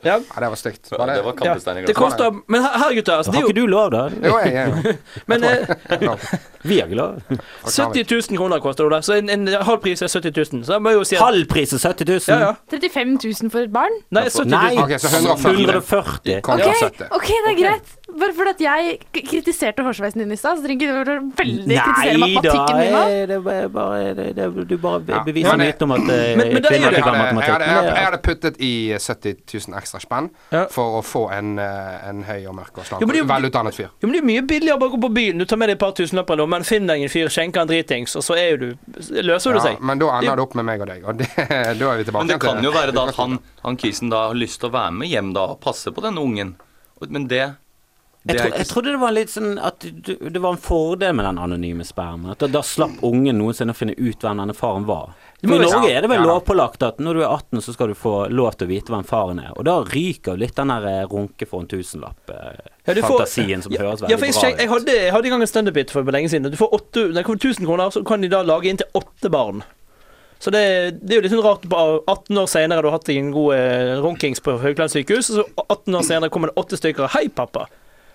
Speaker 3: Ja.
Speaker 5: Ja, det var stygt.
Speaker 6: Ja, det var
Speaker 3: Ja,
Speaker 6: kampestein i
Speaker 3: det
Speaker 6: glasset.
Speaker 3: koster Men her, her gutter, altså, det
Speaker 4: Har
Speaker 3: er
Speaker 4: ikke
Speaker 3: jo
Speaker 4: du lov, da?
Speaker 5: Jo, jeg, jeg,
Speaker 3: men, eh,
Speaker 5: lov.
Speaker 4: Vi har ikke lov.
Speaker 3: 70 000 kroner koster det, da. Så en, en halv pris er 70 000. Så jeg må jo si at
Speaker 4: Halv pris er 70 000.
Speaker 3: ja, ja.
Speaker 2: 35 000 for et barn?
Speaker 3: Nei, 70
Speaker 4: Nei,
Speaker 3: 000.
Speaker 5: Ok, så 140.
Speaker 4: 140.
Speaker 5: Kontra
Speaker 2: Ok,
Speaker 5: 70.
Speaker 2: ok, det er greit. Bare fordi at jeg k- kritiserte hårsveisen din i stad, så trenger ikke du være veldig kritisere matematikken min nå.
Speaker 4: eh, det er bare, det, det, du bare be-
Speaker 5: Ja,
Speaker 4: beviser
Speaker 5: men det-
Speaker 4: myten om at
Speaker 3: Men-
Speaker 4: eh,
Speaker 3: men det er jo
Speaker 4: kvinner
Speaker 3: det.
Speaker 5: Jeg
Speaker 4: ikke kan
Speaker 5: hadde, jeg,
Speaker 4: matematikk.
Speaker 5: hadde,
Speaker 4: Men
Speaker 5: jeg,
Speaker 4: det er-
Speaker 5: hadde puttet i 70 000 ekstra spenn
Speaker 3: Ja.
Speaker 5: for å få en, eh, en høy og mørk og
Speaker 3: Jo, men det er
Speaker 5: slank,
Speaker 3: jo-
Speaker 5: velutdannet fyr.
Speaker 3: Jo, men Det er jo mye billigere bare å gå på byen. Du tar med deg et par tusenlapper i lommen, finn deg en fyr, skjenker en dritings, og så er jo du Løser du
Speaker 5: Ja,
Speaker 3: seg.
Speaker 5: men da ender det opp med meg og deg, og det, da er vi tilbake
Speaker 6: Men det
Speaker 5: igjen til
Speaker 6: kan jo være da at han, han kisen da har lyst til å være med hjem da og passe på denne ungen. Og- Men det,
Speaker 4: Jeg,
Speaker 6: det er
Speaker 4: tro, jeg
Speaker 6: ikke
Speaker 4: trodde det var litt sånn at du, det var en fordel med den anonyme spermen. At da, da slapp ungen noensinne å finne ut hvem denne faren var.
Speaker 3: må
Speaker 4: For I
Speaker 3: vi-
Speaker 4: Norge er det vel
Speaker 5: Ja, ja.
Speaker 4: lovpålagt at når du er 18, så skal du få lov til å vite hvem faren er. Og da ryker jo litt den der eh, runke for en
Speaker 3: Ja, du får-
Speaker 4: tusenlapp-fantasien som høres
Speaker 3: Ja, for
Speaker 4: veldig
Speaker 3: jeg, skjen- jeg,
Speaker 4: bra ut.
Speaker 3: hadde, jeg hadde i gang en standup-bit for lenge siden. Du får åtte- nei, for 1000 kroner, så kan de da lage inntil åtte barn. Så det, det er jo litt sånn rart bare 18 år senere du har hatt deg en god eh, runkings på Haukeland sykehus, og så 18 år senere kommer det åtte stykker. Hei, pappa.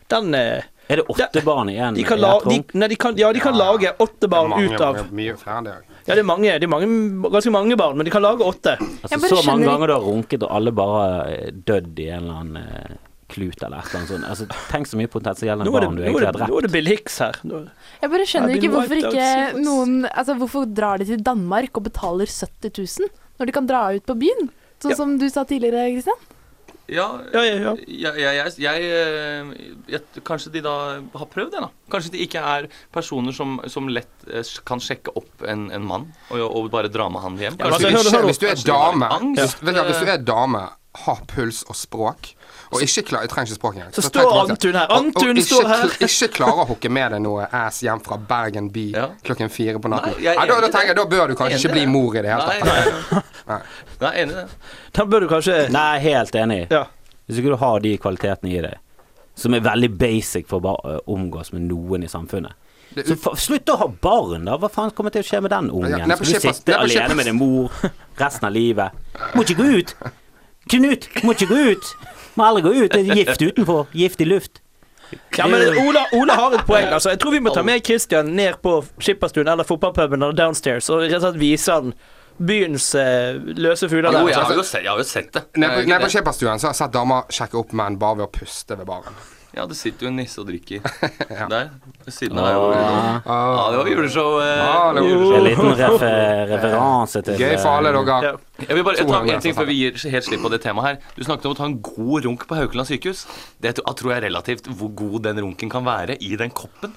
Speaker 3: Den eh,
Speaker 4: Er det åtte
Speaker 3: Ja,
Speaker 4: barn igjen?
Speaker 3: de kan la, de,
Speaker 4: runk?
Speaker 3: nei, de kan, Ja, de kan
Speaker 5: Ja.
Speaker 3: lage åtte barn
Speaker 5: mange,
Speaker 3: ut av
Speaker 5: mange- Mye flere enn det òg.
Speaker 3: Ja, det er mange, det er mange, ganske mange barn, men de kan lage åtte.
Speaker 4: Altså,
Speaker 2: Jeg bare
Speaker 4: så mange
Speaker 2: skjønner
Speaker 4: ganger du har runket, og alle bare eh, dødd i en eller annen eh, klut eller et eller annet sånt. Altså, tenk så mye potensielle
Speaker 3: Nå er det, nå
Speaker 4: barn du
Speaker 3: er
Speaker 4: egentlig har
Speaker 3: det, nå
Speaker 4: drept.
Speaker 3: er det Bill Hicks her. Nå-
Speaker 2: Jeg bare skjønner
Speaker 3: I've
Speaker 2: ikke
Speaker 3: been
Speaker 2: hvorfor
Speaker 3: wiped out
Speaker 2: ikke
Speaker 3: since-
Speaker 2: noen Altså, hvorfor drar de til Danmark og betaler 70 000 når de kan dra ut på byen? Sånn
Speaker 3: Ja.
Speaker 2: som du sa tidligere, Kristian.
Speaker 6: Ja,
Speaker 3: Ja, ja, ja.
Speaker 6: Jeg, jeg, jeg, jeg, eh, jeg Kanskje de da har prøvd det, da. Kanskje de ikke er personer som, som lett eh, kan sjekke opp en, en mann og, og bare dra med han hjem.
Speaker 3: men
Speaker 6: Kanskje
Speaker 3: altså, hør
Speaker 6: de
Speaker 3: nå, hør nå.
Speaker 5: Hvis du er
Speaker 6: Kanskje de har litt
Speaker 5: dame, hvis,
Speaker 6: angst,
Speaker 5: vet du, hva, hvis du
Speaker 6: eh.
Speaker 5: er dame ha puls og språk, og ikke klar, jeg trenger ikke språk engang.
Speaker 3: Så
Speaker 5: tenk
Speaker 3: står
Speaker 5: tilbake til-
Speaker 3: Antun her.
Speaker 5: og- og
Speaker 3: Antun
Speaker 5: ikke
Speaker 3: står her.
Speaker 5: kl- Ikke klarer å hooke med deg noe ass hjem fra Bergen by
Speaker 6: Ja.
Speaker 5: klokken fire på natten.
Speaker 6: Nei,
Speaker 5: Nei,
Speaker 6: jeg
Speaker 5: da,
Speaker 6: er
Speaker 5: da
Speaker 6: enig i
Speaker 5: tenker jeg, da bør du
Speaker 6: Jeg
Speaker 5: kanskje
Speaker 6: er
Speaker 5: ikke
Speaker 6: enig i
Speaker 5: bli
Speaker 6: det.
Speaker 5: mor i det hele
Speaker 6: Nei,
Speaker 5: tatt.
Speaker 6: nei, nei.
Speaker 5: Nei.
Speaker 6: Nei, enig i det.
Speaker 3: Da bør du kanskje
Speaker 4: Nei, helt enig.
Speaker 3: Ja.
Speaker 4: Hvis ikke du har de kvalitetene i deg, som er veldig basic for å bare eh, omgås med noen i samfunnet.
Speaker 5: Det-
Speaker 4: Så fa slutt å ha barn, da! Hva faen kommer til å skje med den ungen?
Speaker 5: Ja, nei, på
Speaker 4: Skal du
Speaker 5: kjøpes-
Speaker 4: sitte
Speaker 5: nei, på
Speaker 4: alene
Speaker 5: kjøpes-
Speaker 4: med din mor resten av livet? Må ikke gå ut! Knut, må ikke gå ut! Må aldri gå ut! Det er gift utenfor. Gift i luft.
Speaker 3: Ja, men Ola, Ola har et poeng. altså. Jeg tror vi må ta med Christian ned på skipperstuen eller fotballpuben eller downstairs og rett og slett vise han byens eh, løse fugler.
Speaker 6: Jo,
Speaker 3: der.
Speaker 6: jeg
Speaker 5: altså-
Speaker 6: har jo sett, jeg har jo sett det.
Speaker 5: Nede på, nede
Speaker 6: Jeg
Speaker 5: på
Speaker 6: har ikke det.
Speaker 5: skipperstuen så har jeg sett damer sjekke opp menn bare ved å puste ved baren.
Speaker 6: Ja, det sitter jo en nisse og drikker der. Ved siden av der. hvor- Ja, det var juleshow. eh,
Speaker 5: Ah, det var
Speaker 6: juleshow.
Speaker 4: En liten refer referanse til eh,
Speaker 5: Gøy for alle dere.
Speaker 3: Ja.
Speaker 6: Jeg vil bare jeg
Speaker 5: To
Speaker 6: tar
Speaker 5: ganger, altså.
Speaker 6: en ting
Speaker 5: for
Speaker 6: før vi gir helt slipp på det temaet her. Du snakket om å ta en god runk på Haukeland sykehus. Det tror- jeg tror jeg er relativt hvor god den runken kan være i den koppen.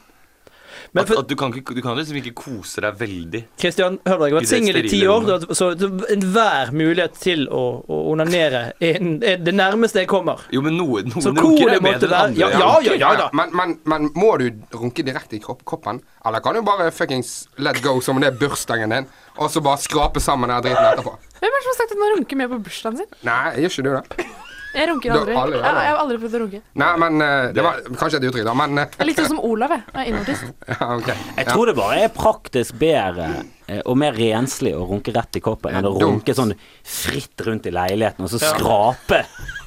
Speaker 3: Men
Speaker 6: At,
Speaker 3: for-
Speaker 6: at du, kan ikke, du kan liksom ikke kose deg veldig.
Speaker 3: Kristian, hør nå, jeg har vært
Speaker 6: I det
Speaker 3: singel i ti
Speaker 6: sterile
Speaker 3: år, så enhver mulighet til å, å onanere er, er det nærmeste jeg kommer.
Speaker 6: Jo, men noen, noen
Speaker 3: Så
Speaker 6: runker
Speaker 3: cool
Speaker 6: er
Speaker 3: det måtte
Speaker 6: bedre enn
Speaker 3: være.
Speaker 6: andre.
Speaker 3: Ja, ja, ja, ja da.
Speaker 5: Men, men, men må du runke direkte i kropp, koppen? Eller kan du bare fuckings let go som om det er bursdagen din, og så bare skrape sammen den driten etterpå?
Speaker 2: Hvem er det som har sagt at man runker med på bursdagen sin?
Speaker 5: Nei, gjør ikke du det?
Speaker 2: Jeg runker
Speaker 5: Du har
Speaker 2: aldri.
Speaker 5: aldri-
Speaker 2: Ja, jeg har aldri prøvd å runke.
Speaker 5: Nei, men eh, Det var kanskje et uttrykk, da, men eh,
Speaker 2: Jeg er litt sånn som Olav, jeg. jeg er innartist.
Speaker 5: ja, OK.
Speaker 4: Jeg tror det bare er praktisk bedre eh, og mer renslig å runke rett i koppen enn å
Speaker 5: dumt.
Speaker 4: runke sånn fritt rundt i leiligheten og så skrape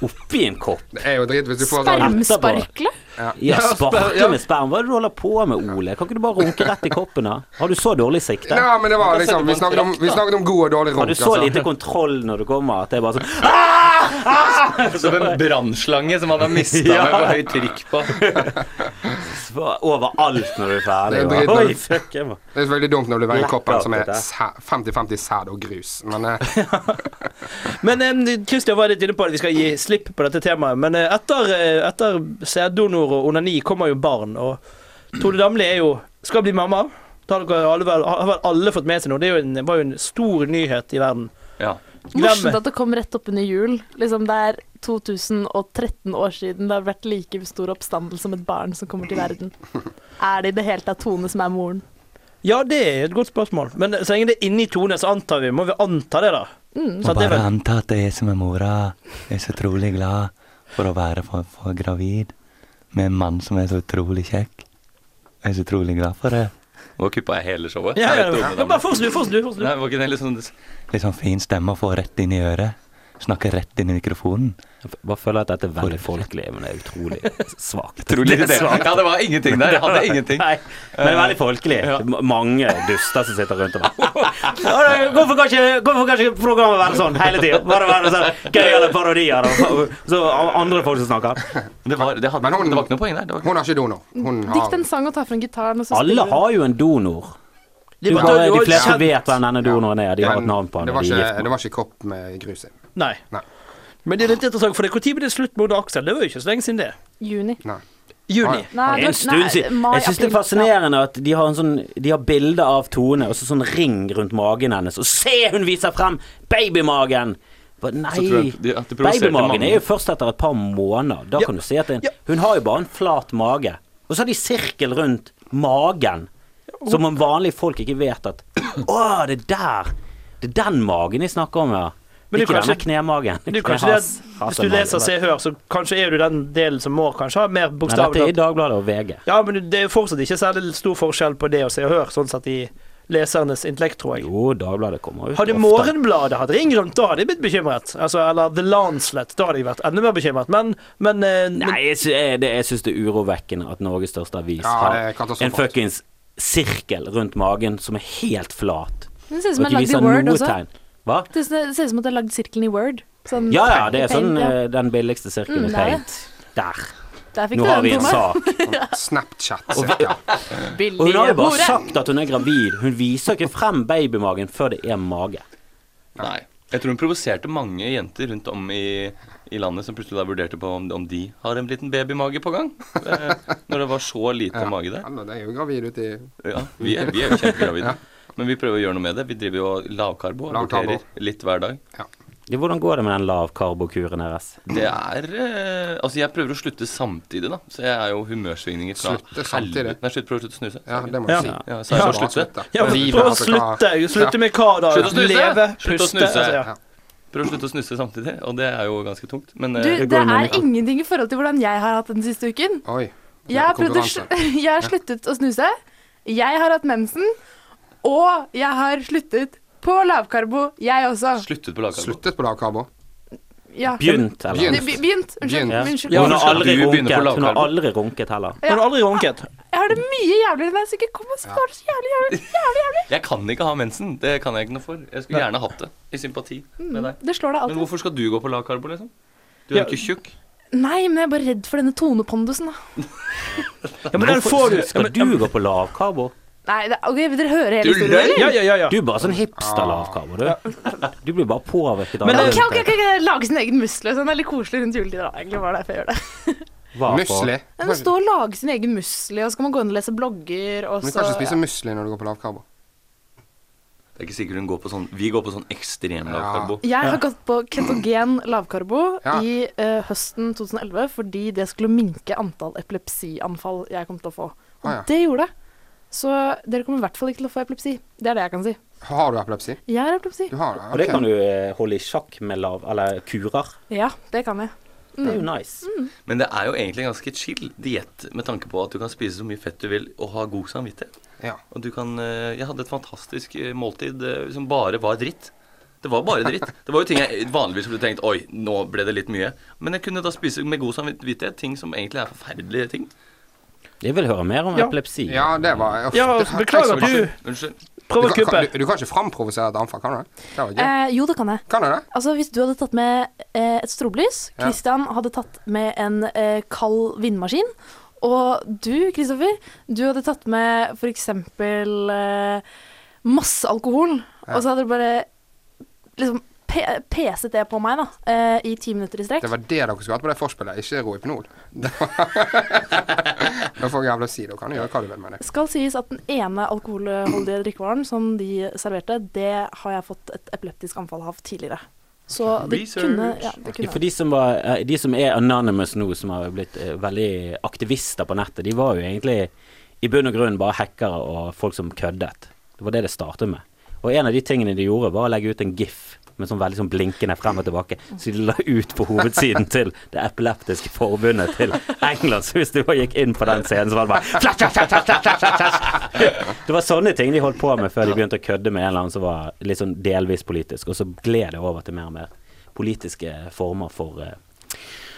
Speaker 4: oppi en kopp.
Speaker 5: Det er jo drit hvis du får sånn
Speaker 2: Spermsparkle?
Speaker 4: Ja,
Speaker 3: Ja, sper- ja.
Speaker 4: sparke med sperm. Hva er det du holder på med, Ole? Kan ikke du bare runke rett i koppen, da? Har du så dårlig sikte?
Speaker 5: Nei, men det var liksom Vi snakket om, vi snakket om god og dårlig
Speaker 4: Har
Speaker 5: runk.
Speaker 4: du så
Speaker 5: altså.
Speaker 4: lite kontroll når du kommer at det er bare sånn
Speaker 6: Som en brannslange som han har mista med for høyt trykk på.
Speaker 4: overalt når du er ferdig.
Speaker 5: Det er
Speaker 4: og-
Speaker 5: dritt, men-
Speaker 4: Oi, fuck, jeg må-
Speaker 5: Det er selvfølgelig dumt når du velger
Speaker 4: Blackout,
Speaker 5: koppen som er
Speaker 4: dette.
Speaker 5: altså, sæ- 50-50 sæd og grus, men eh,
Speaker 3: Men eh, Kristian var litt inne på at vi skal gi slipp på dette temaet. Men eh, etter, eh, etter sæddonor og onani kommer jo barn, og Tone Damli er jo skal bli mamma. Da har dere alle, vel- har vel alle fått med seg noe. Det er jo en, var jo en stor nyhet i verden.
Speaker 6: Ja.
Speaker 2: Morsomt at det kom rett oppunder jul. Liksom det er 2013 år siden det har vært like stor oppstandelse om et barn som kommer til verden. Er det i det hele tatt Tone som er moren?
Speaker 3: Ja, det er et godt spørsmål. Men så lenge det er inni Tone, så antar vi, må vi anta det, da.
Speaker 8: Mm.
Speaker 3: Så at det er vel,
Speaker 8: anta at det er som er mora. Jeg er så utrolig glad for å være for, for gravid med en mann som er så utrolig kjekk. Jeg er så utrolig glad for det.
Speaker 6: Nå kuppa jeg hele showet.
Speaker 3: ja,
Speaker 6: Jeg
Speaker 3: ja,
Speaker 6: vet
Speaker 3: ja.
Speaker 6: ikke
Speaker 3: ja,
Speaker 6: om
Speaker 3: bare
Speaker 6: det-
Speaker 3: fortsett du, fortsett du. fortsett du.
Speaker 6: Nei, var ikke det litt sånn
Speaker 8: Litt sånn fin stemme å få rett inn i øret. Snakke rett inn i mikrofonen.
Speaker 4: Jeg bare føler at dette er veldig folkelig, men det er utrolig svakt.
Speaker 6: Utrolig irriterende. Ja, det var ingenting der. Jeg hadde ingenting.
Speaker 4: Nei, men det er veldig folkelig.
Speaker 6: Ja.
Speaker 4: M- Mange duster som sitter rundt og bare «Å, Hvorfor kan ikke, hvorfor kan ikke programmet være sånn hele tida? Bare være sånn gøyale parodier og så andre folk som snakker.
Speaker 6: Det var, det, hadde,
Speaker 5: Men hun-
Speaker 6: det var ikke noe poeng der. Det var ikke
Speaker 5: hun har ikke donor. Hun har
Speaker 2: Dikt en sang og ta fram gitaren, og så
Speaker 4: Alle
Speaker 2: spiller du.
Speaker 4: har jo en donor.
Speaker 3: Det
Speaker 4: Du
Speaker 3: var-
Speaker 4: bare,
Speaker 3: det var
Speaker 4: de fleste
Speaker 3: kjent.
Speaker 4: vet hvem denne donoren er. De har et
Speaker 5: Men
Speaker 4: navn på han.
Speaker 5: Det var
Speaker 4: de er
Speaker 5: ikke,
Speaker 4: gift
Speaker 5: det
Speaker 4: med han.
Speaker 5: var ikke kopp med grus i.
Speaker 3: Nei.
Speaker 5: Nei.
Speaker 3: Men det er litt interessant, for det- hvor tid ble det slutt med Odd Aksel? Det var jo ikke så lenge siden det.
Speaker 2: Juni.
Speaker 5: Nei.
Speaker 3: Juni.
Speaker 5: Nei.
Speaker 2: Nei,
Speaker 4: Det
Speaker 2: du-
Speaker 4: er en stund
Speaker 2: nei,
Speaker 4: siden.
Speaker 2: mai,
Speaker 4: Jeg syns det er
Speaker 2: april.
Speaker 4: fascinerende at de har, en sånn, de har bilde av Tone og så sånn ring rundt magen hennes, og se, hun viser frem babymagen! Bare,
Speaker 6: Så tror jeg
Speaker 4: Nei.
Speaker 6: at de- at det provoserte
Speaker 4: Babymagen
Speaker 6: mange.
Speaker 4: er jo først etter et par måneder. Da
Speaker 3: Ja.
Speaker 4: kan du si at det, er en-
Speaker 3: Ja.
Speaker 4: hun har jo bare en flat mage. Og så har de sirkel rundt magen, som om vanlige folk ikke vet at Å, det er der! Det er den magen jeg snakker om, ja.
Speaker 3: Men det er
Speaker 4: ikke denne
Speaker 3: kanskje-
Speaker 4: knemagen.
Speaker 3: Men det er jo kanskje det at Hvis du leser Se og Hør, så kanskje er du den delen som må kanskje ha mer
Speaker 4: Nei, dette er i
Speaker 3: bokstavelig.
Speaker 4: Dagbladet og VG.
Speaker 3: Ja, men det er jo fortsatt ikke særlig stor forskjell på det og Se og Hør, sånn sett i lesernes intellekt, tror jeg.
Speaker 4: Jo, Dagbladet kommer ut
Speaker 3: Hadde
Speaker 4: ofte.
Speaker 3: Morgenbladet hatt ring rundt, da hadde jeg blitt bekymret. Altså, eller The Lancet, da hadde jeg vært enda mer bekymret. Men, men, eh, men
Speaker 4: Nei, jeg, sy jeg, det, jeg syns det er urovekkende at Norges største avis
Speaker 5: Ja,
Speaker 4: har en
Speaker 5: det er katastrofalt.
Speaker 4: fuckings sirkel rundt magen som er helt flat.
Speaker 2: Det ser ut
Speaker 4: Og
Speaker 2: som jeg
Speaker 4: ikke
Speaker 2: har lagd i
Speaker 4: viser
Speaker 2: Word
Speaker 4: noe
Speaker 2: også.
Speaker 4: tegn. Hva?
Speaker 2: Det ser det ser ut som at jeg har lagd sirkelen i Word. Sånn,
Speaker 4: Ja ja, det er
Speaker 2: paint,
Speaker 4: sånn
Speaker 2: ja.
Speaker 4: eh, den billigste sirkelen
Speaker 2: Mm,
Speaker 4: i
Speaker 2: det er det.
Speaker 4: paint. Der.
Speaker 2: Der fikk
Speaker 4: Nå
Speaker 2: du
Speaker 4: har
Speaker 2: den,
Speaker 4: vi en
Speaker 2: Tone.
Speaker 4: sak.
Speaker 5: Snapchat, cirka.
Speaker 4: Og hun har jo bare
Speaker 2: Hore.
Speaker 4: sagt at hun er gravid. Hun viser ikke frem babymagen før det er mage.
Speaker 6: Nei. Jeg tror hun provoserte mange jenter rundt om i, i landet som plutselig da vurderte på om, om de har en liten babymage på gang. Eh, Når det var så lite mage der.
Speaker 5: Alle, det er jo gravid ute i
Speaker 6: Ja, vi er, vi er jo kjempegravide. Men vi prøver å gjøre noe med det. Vi driver jo og lavkarbo.
Speaker 5: Lavkarbo.
Speaker 6: Aborterer litt hver dag.
Speaker 4: Ja, Hvordan går det med den lavkarbokuren deres?
Speaker 6: Det er eh, Altså, jeg prøver å slutte samtidig, da. Så jeg er jo humørsvingninger fra
Speaker 5: Slutte samtidig?
Speaker 6: helvete- Nei, slutt, prøv å slutte å snuse.
Speaker 5: Ja, det må
Speaker 3: Ja.
Speaker 5: jeg si.
Speaker 6: Ja, så er det
Speaker 5: Ja.
Speaker 6: å slutte.
Speaker 3: ja, men
Speaker 5: Livet,
Speaker 3: prøv å
Speaker 5: altså, hva-
Speaker 3: slutte. Slutte med hva da?
Speaker 6: Slutt å snuse!
Speaker 3: Leve,
Speaker 6: Slutt å
Speaker 3: puste.
Speaker 6: snuse.
Speaker 3: altså, ja.
Speaker 6: Prøv å slutte å snuse samtidig, og det er jo ganske tungt. Men eh,
Speaker 2: Du,
Speaker 4: Det
Speaker 2: det
Speaker 4: går i munnen,
Speaker 2: er
Speaker 4: ja.
Speaker 2: ingenting i forhold til hvordan jeg har hatt den siste uken.
Speaker 5: Oi.
Speaker 2: Jeg har, prøvd å,
Speaker 5: Konkurranse.
Speaker 2: sl- jeg har sluttet å snuse. Jeg har hatt mensen. Og jeg har sluttet på lavkarbo, jeg også.
Speaker 6: sluttet på lavkarbo.
Speaker 5: Sluttet på lavkarbo.
Speaker 2: Ja.
Speaker 4: Begynt, eller?
Speaker 5: Begynt.
Speaker 2: Det- be- Begynt. Unnskyld.
Speaker 5: Begynt.
Speaker 2: unnskyld.
Speaker 3: Ja.
Speaker 4: Hun har
Speaker 6: Du
Speaker 4: aldri
Speaker 6: begynner på
Speaker 4: runket. Hun har
Speaker 6: lavkarbo.
Speaker 4: aldri runket heller.
Speaker 3: Hun har aldri runket.
Speaker 2: Jeg har det mye jævligere enn deg, så ikke kom og skår så jævlig, jævlig, jævlig, jævlig.
Speaker 6: Jeg kan ikke ha mensen. Det kan jeg ikke noe for. Jeg skulle gjerne hatt det, i sympati med deg.
Speaker 2: Mm. Det slår deg
Speaker 6: Men
Speaker 2: alltid.
Speaker 6: hvorfor skal du gå på lavkarbo, liksom? Du er
Speaker 3: Ja.
Speaker 6: jo ikke tjukk.
Speaker 2: Nei, men jeg er bare redd for denne tonepondusen, da.
Speaker 4: Ja, men den får du. Skal du gå på lavkarbo?
Speaker 2: Nei, det, ok, vil dere høre hele
Speaker 6: Du
Speaker 2: historien,
Speaker 6: løy!
Speaker 2: eller?
Speaker 3: Ja, ja, ja, ja.
Speaker 4: Du er bare sånn hipster-lavkarbo, du. Du blir bare påvirket av
Speaker 3: Men
Speaker 2: Ok,
Speaker 3: det-
Speaker 2: ok, ok, ok, lage sin egen musle. Sånn, det er litt koselig rundt juletid. da. Egentlig var det derfor jeg gjør det.
Speaker 4: Hva for?
Speaker 5: Musli.
Speaker 2: Men å stå og lage sin egen musli, og så kan man gå inn og lese blogger,
Speaker 5: Men
Speaker 2: og
Speaker 5: du
Speaker 2: så
Speaker 5: kan ikke spise musli når du går på lavkarbo.
Speaker 6: Det er ikke sikkert hun går på sånn Vi går på sånn ekstrem lavkarbo.
Speaker 2: Jeg har gått på ketogen lavkarbo
Speaker 5: Ja.
Speaker 2: i eh, høsten 2011 fordi det skulle minke antall epilepsianfall jeg kom til å få. Og
Speaker 5: Ah, ja.
Speaker 2: det gjorde det. Så dere kommer i hvert fall ikke til å få epilepsi. Det er det jeg kan si.
Speaker 5: Har du epilepsi?
Speaker 2: Jeg har epilepsi.
Speaker 5: Du har det?
Speaker 4: Og det
Speaker 5: ok.
Speaker 4: kan du eh, holde i sjakk med lav... Eller kurer.
Speaker 2: Ja, det kan jeg.
Speaker 4: Det er jo nice.
Speaker 6: Men det er jo egentlig en ganske chill diett med tanke på at du kan spise så mye fett du vil og ha god samvittighet.
Speaker 5: Ja.
Speaker 6: Og du kan eh, Jeg hadde et fantastisk eh, måltid eh, som bare var dritt. Det var bare dritt. Det var jo ting jeg vanligvis ville tenkt Oi, nå ble det litt mye. Men jeg kunne da spise med god samvittighet ting som egentlig er forferdelige ting.
Speaker 4: Jeg vil høre mer om
Speaker 3: Ja.
Speaker 4: epilepsi.
Speaker 5: ja, det var uff,
Speaker 3: Ja,
Speaker 5: det-
Speaker 3: beklager
Speaker 5: jeg så-
Speaker 3: du.
Speaker 6: Unnskyld.
Speaker 5: Du
Speaker 3: Prøv å
Speaker 5: kan,
Speaker 3: kuppe.
Speaker 5: kan, du, du kan ikke framprovosere et anfall, kan du det? Det var gøy.
Speaker 2: Eh, jo, det kan jeg.
Speaker 5: Kan du det?
Speaker 2: Altså, Hvis du hadde tatt med eh, et strobelys,
Speaker 5: Ja.
Speaker 2: Christian hadde tatt med en eh, kald vindmaskin, og du, Kristoffer, du hadde tatt med f.eks. Eh, masse alkohol, og så hadde du bare liksom pe peset det på meg da, eh, i ti minutter i strekk.
Speaker 5: Det var det dere skulle hatt på det forspillet, ikke Rohypnol. Det var- Nå får jeg jævla si det, og kan du gjøre hva du vil med det.
Speaker 2: Skal sies at den ene alkoholholdige drikkevaren som de serverte, det har jeg fått et epileptisk anfall av tidligere. Så det kunne, ja, det
Speaker 4: Ja,
Speaker 2: kunne
Speaker 4: For de som, var, eh, de som er anonymous nå, som har blitt eh, veldig aktivister på nettet, de var jo egentlig i bunn og grunn bare hackere og folk som køddet. Det var det det startet med. Og en av de tingene de gjorde, var å legge ut en gif med sånn veldig sånn blinkende frem og tilbake, så de la ut på hovedsiden til det epileptiske forbundet til England. Så hvis du bare gikk inn på den scenen, så var det bare flash, flash, flash, flash, flash, flash, flash. Det var sånne ting de holdt på med før de begynte å kødde med en eller annen som var litt sånn delvis politisk, og så gled det over til mer og mer politiske former for eh,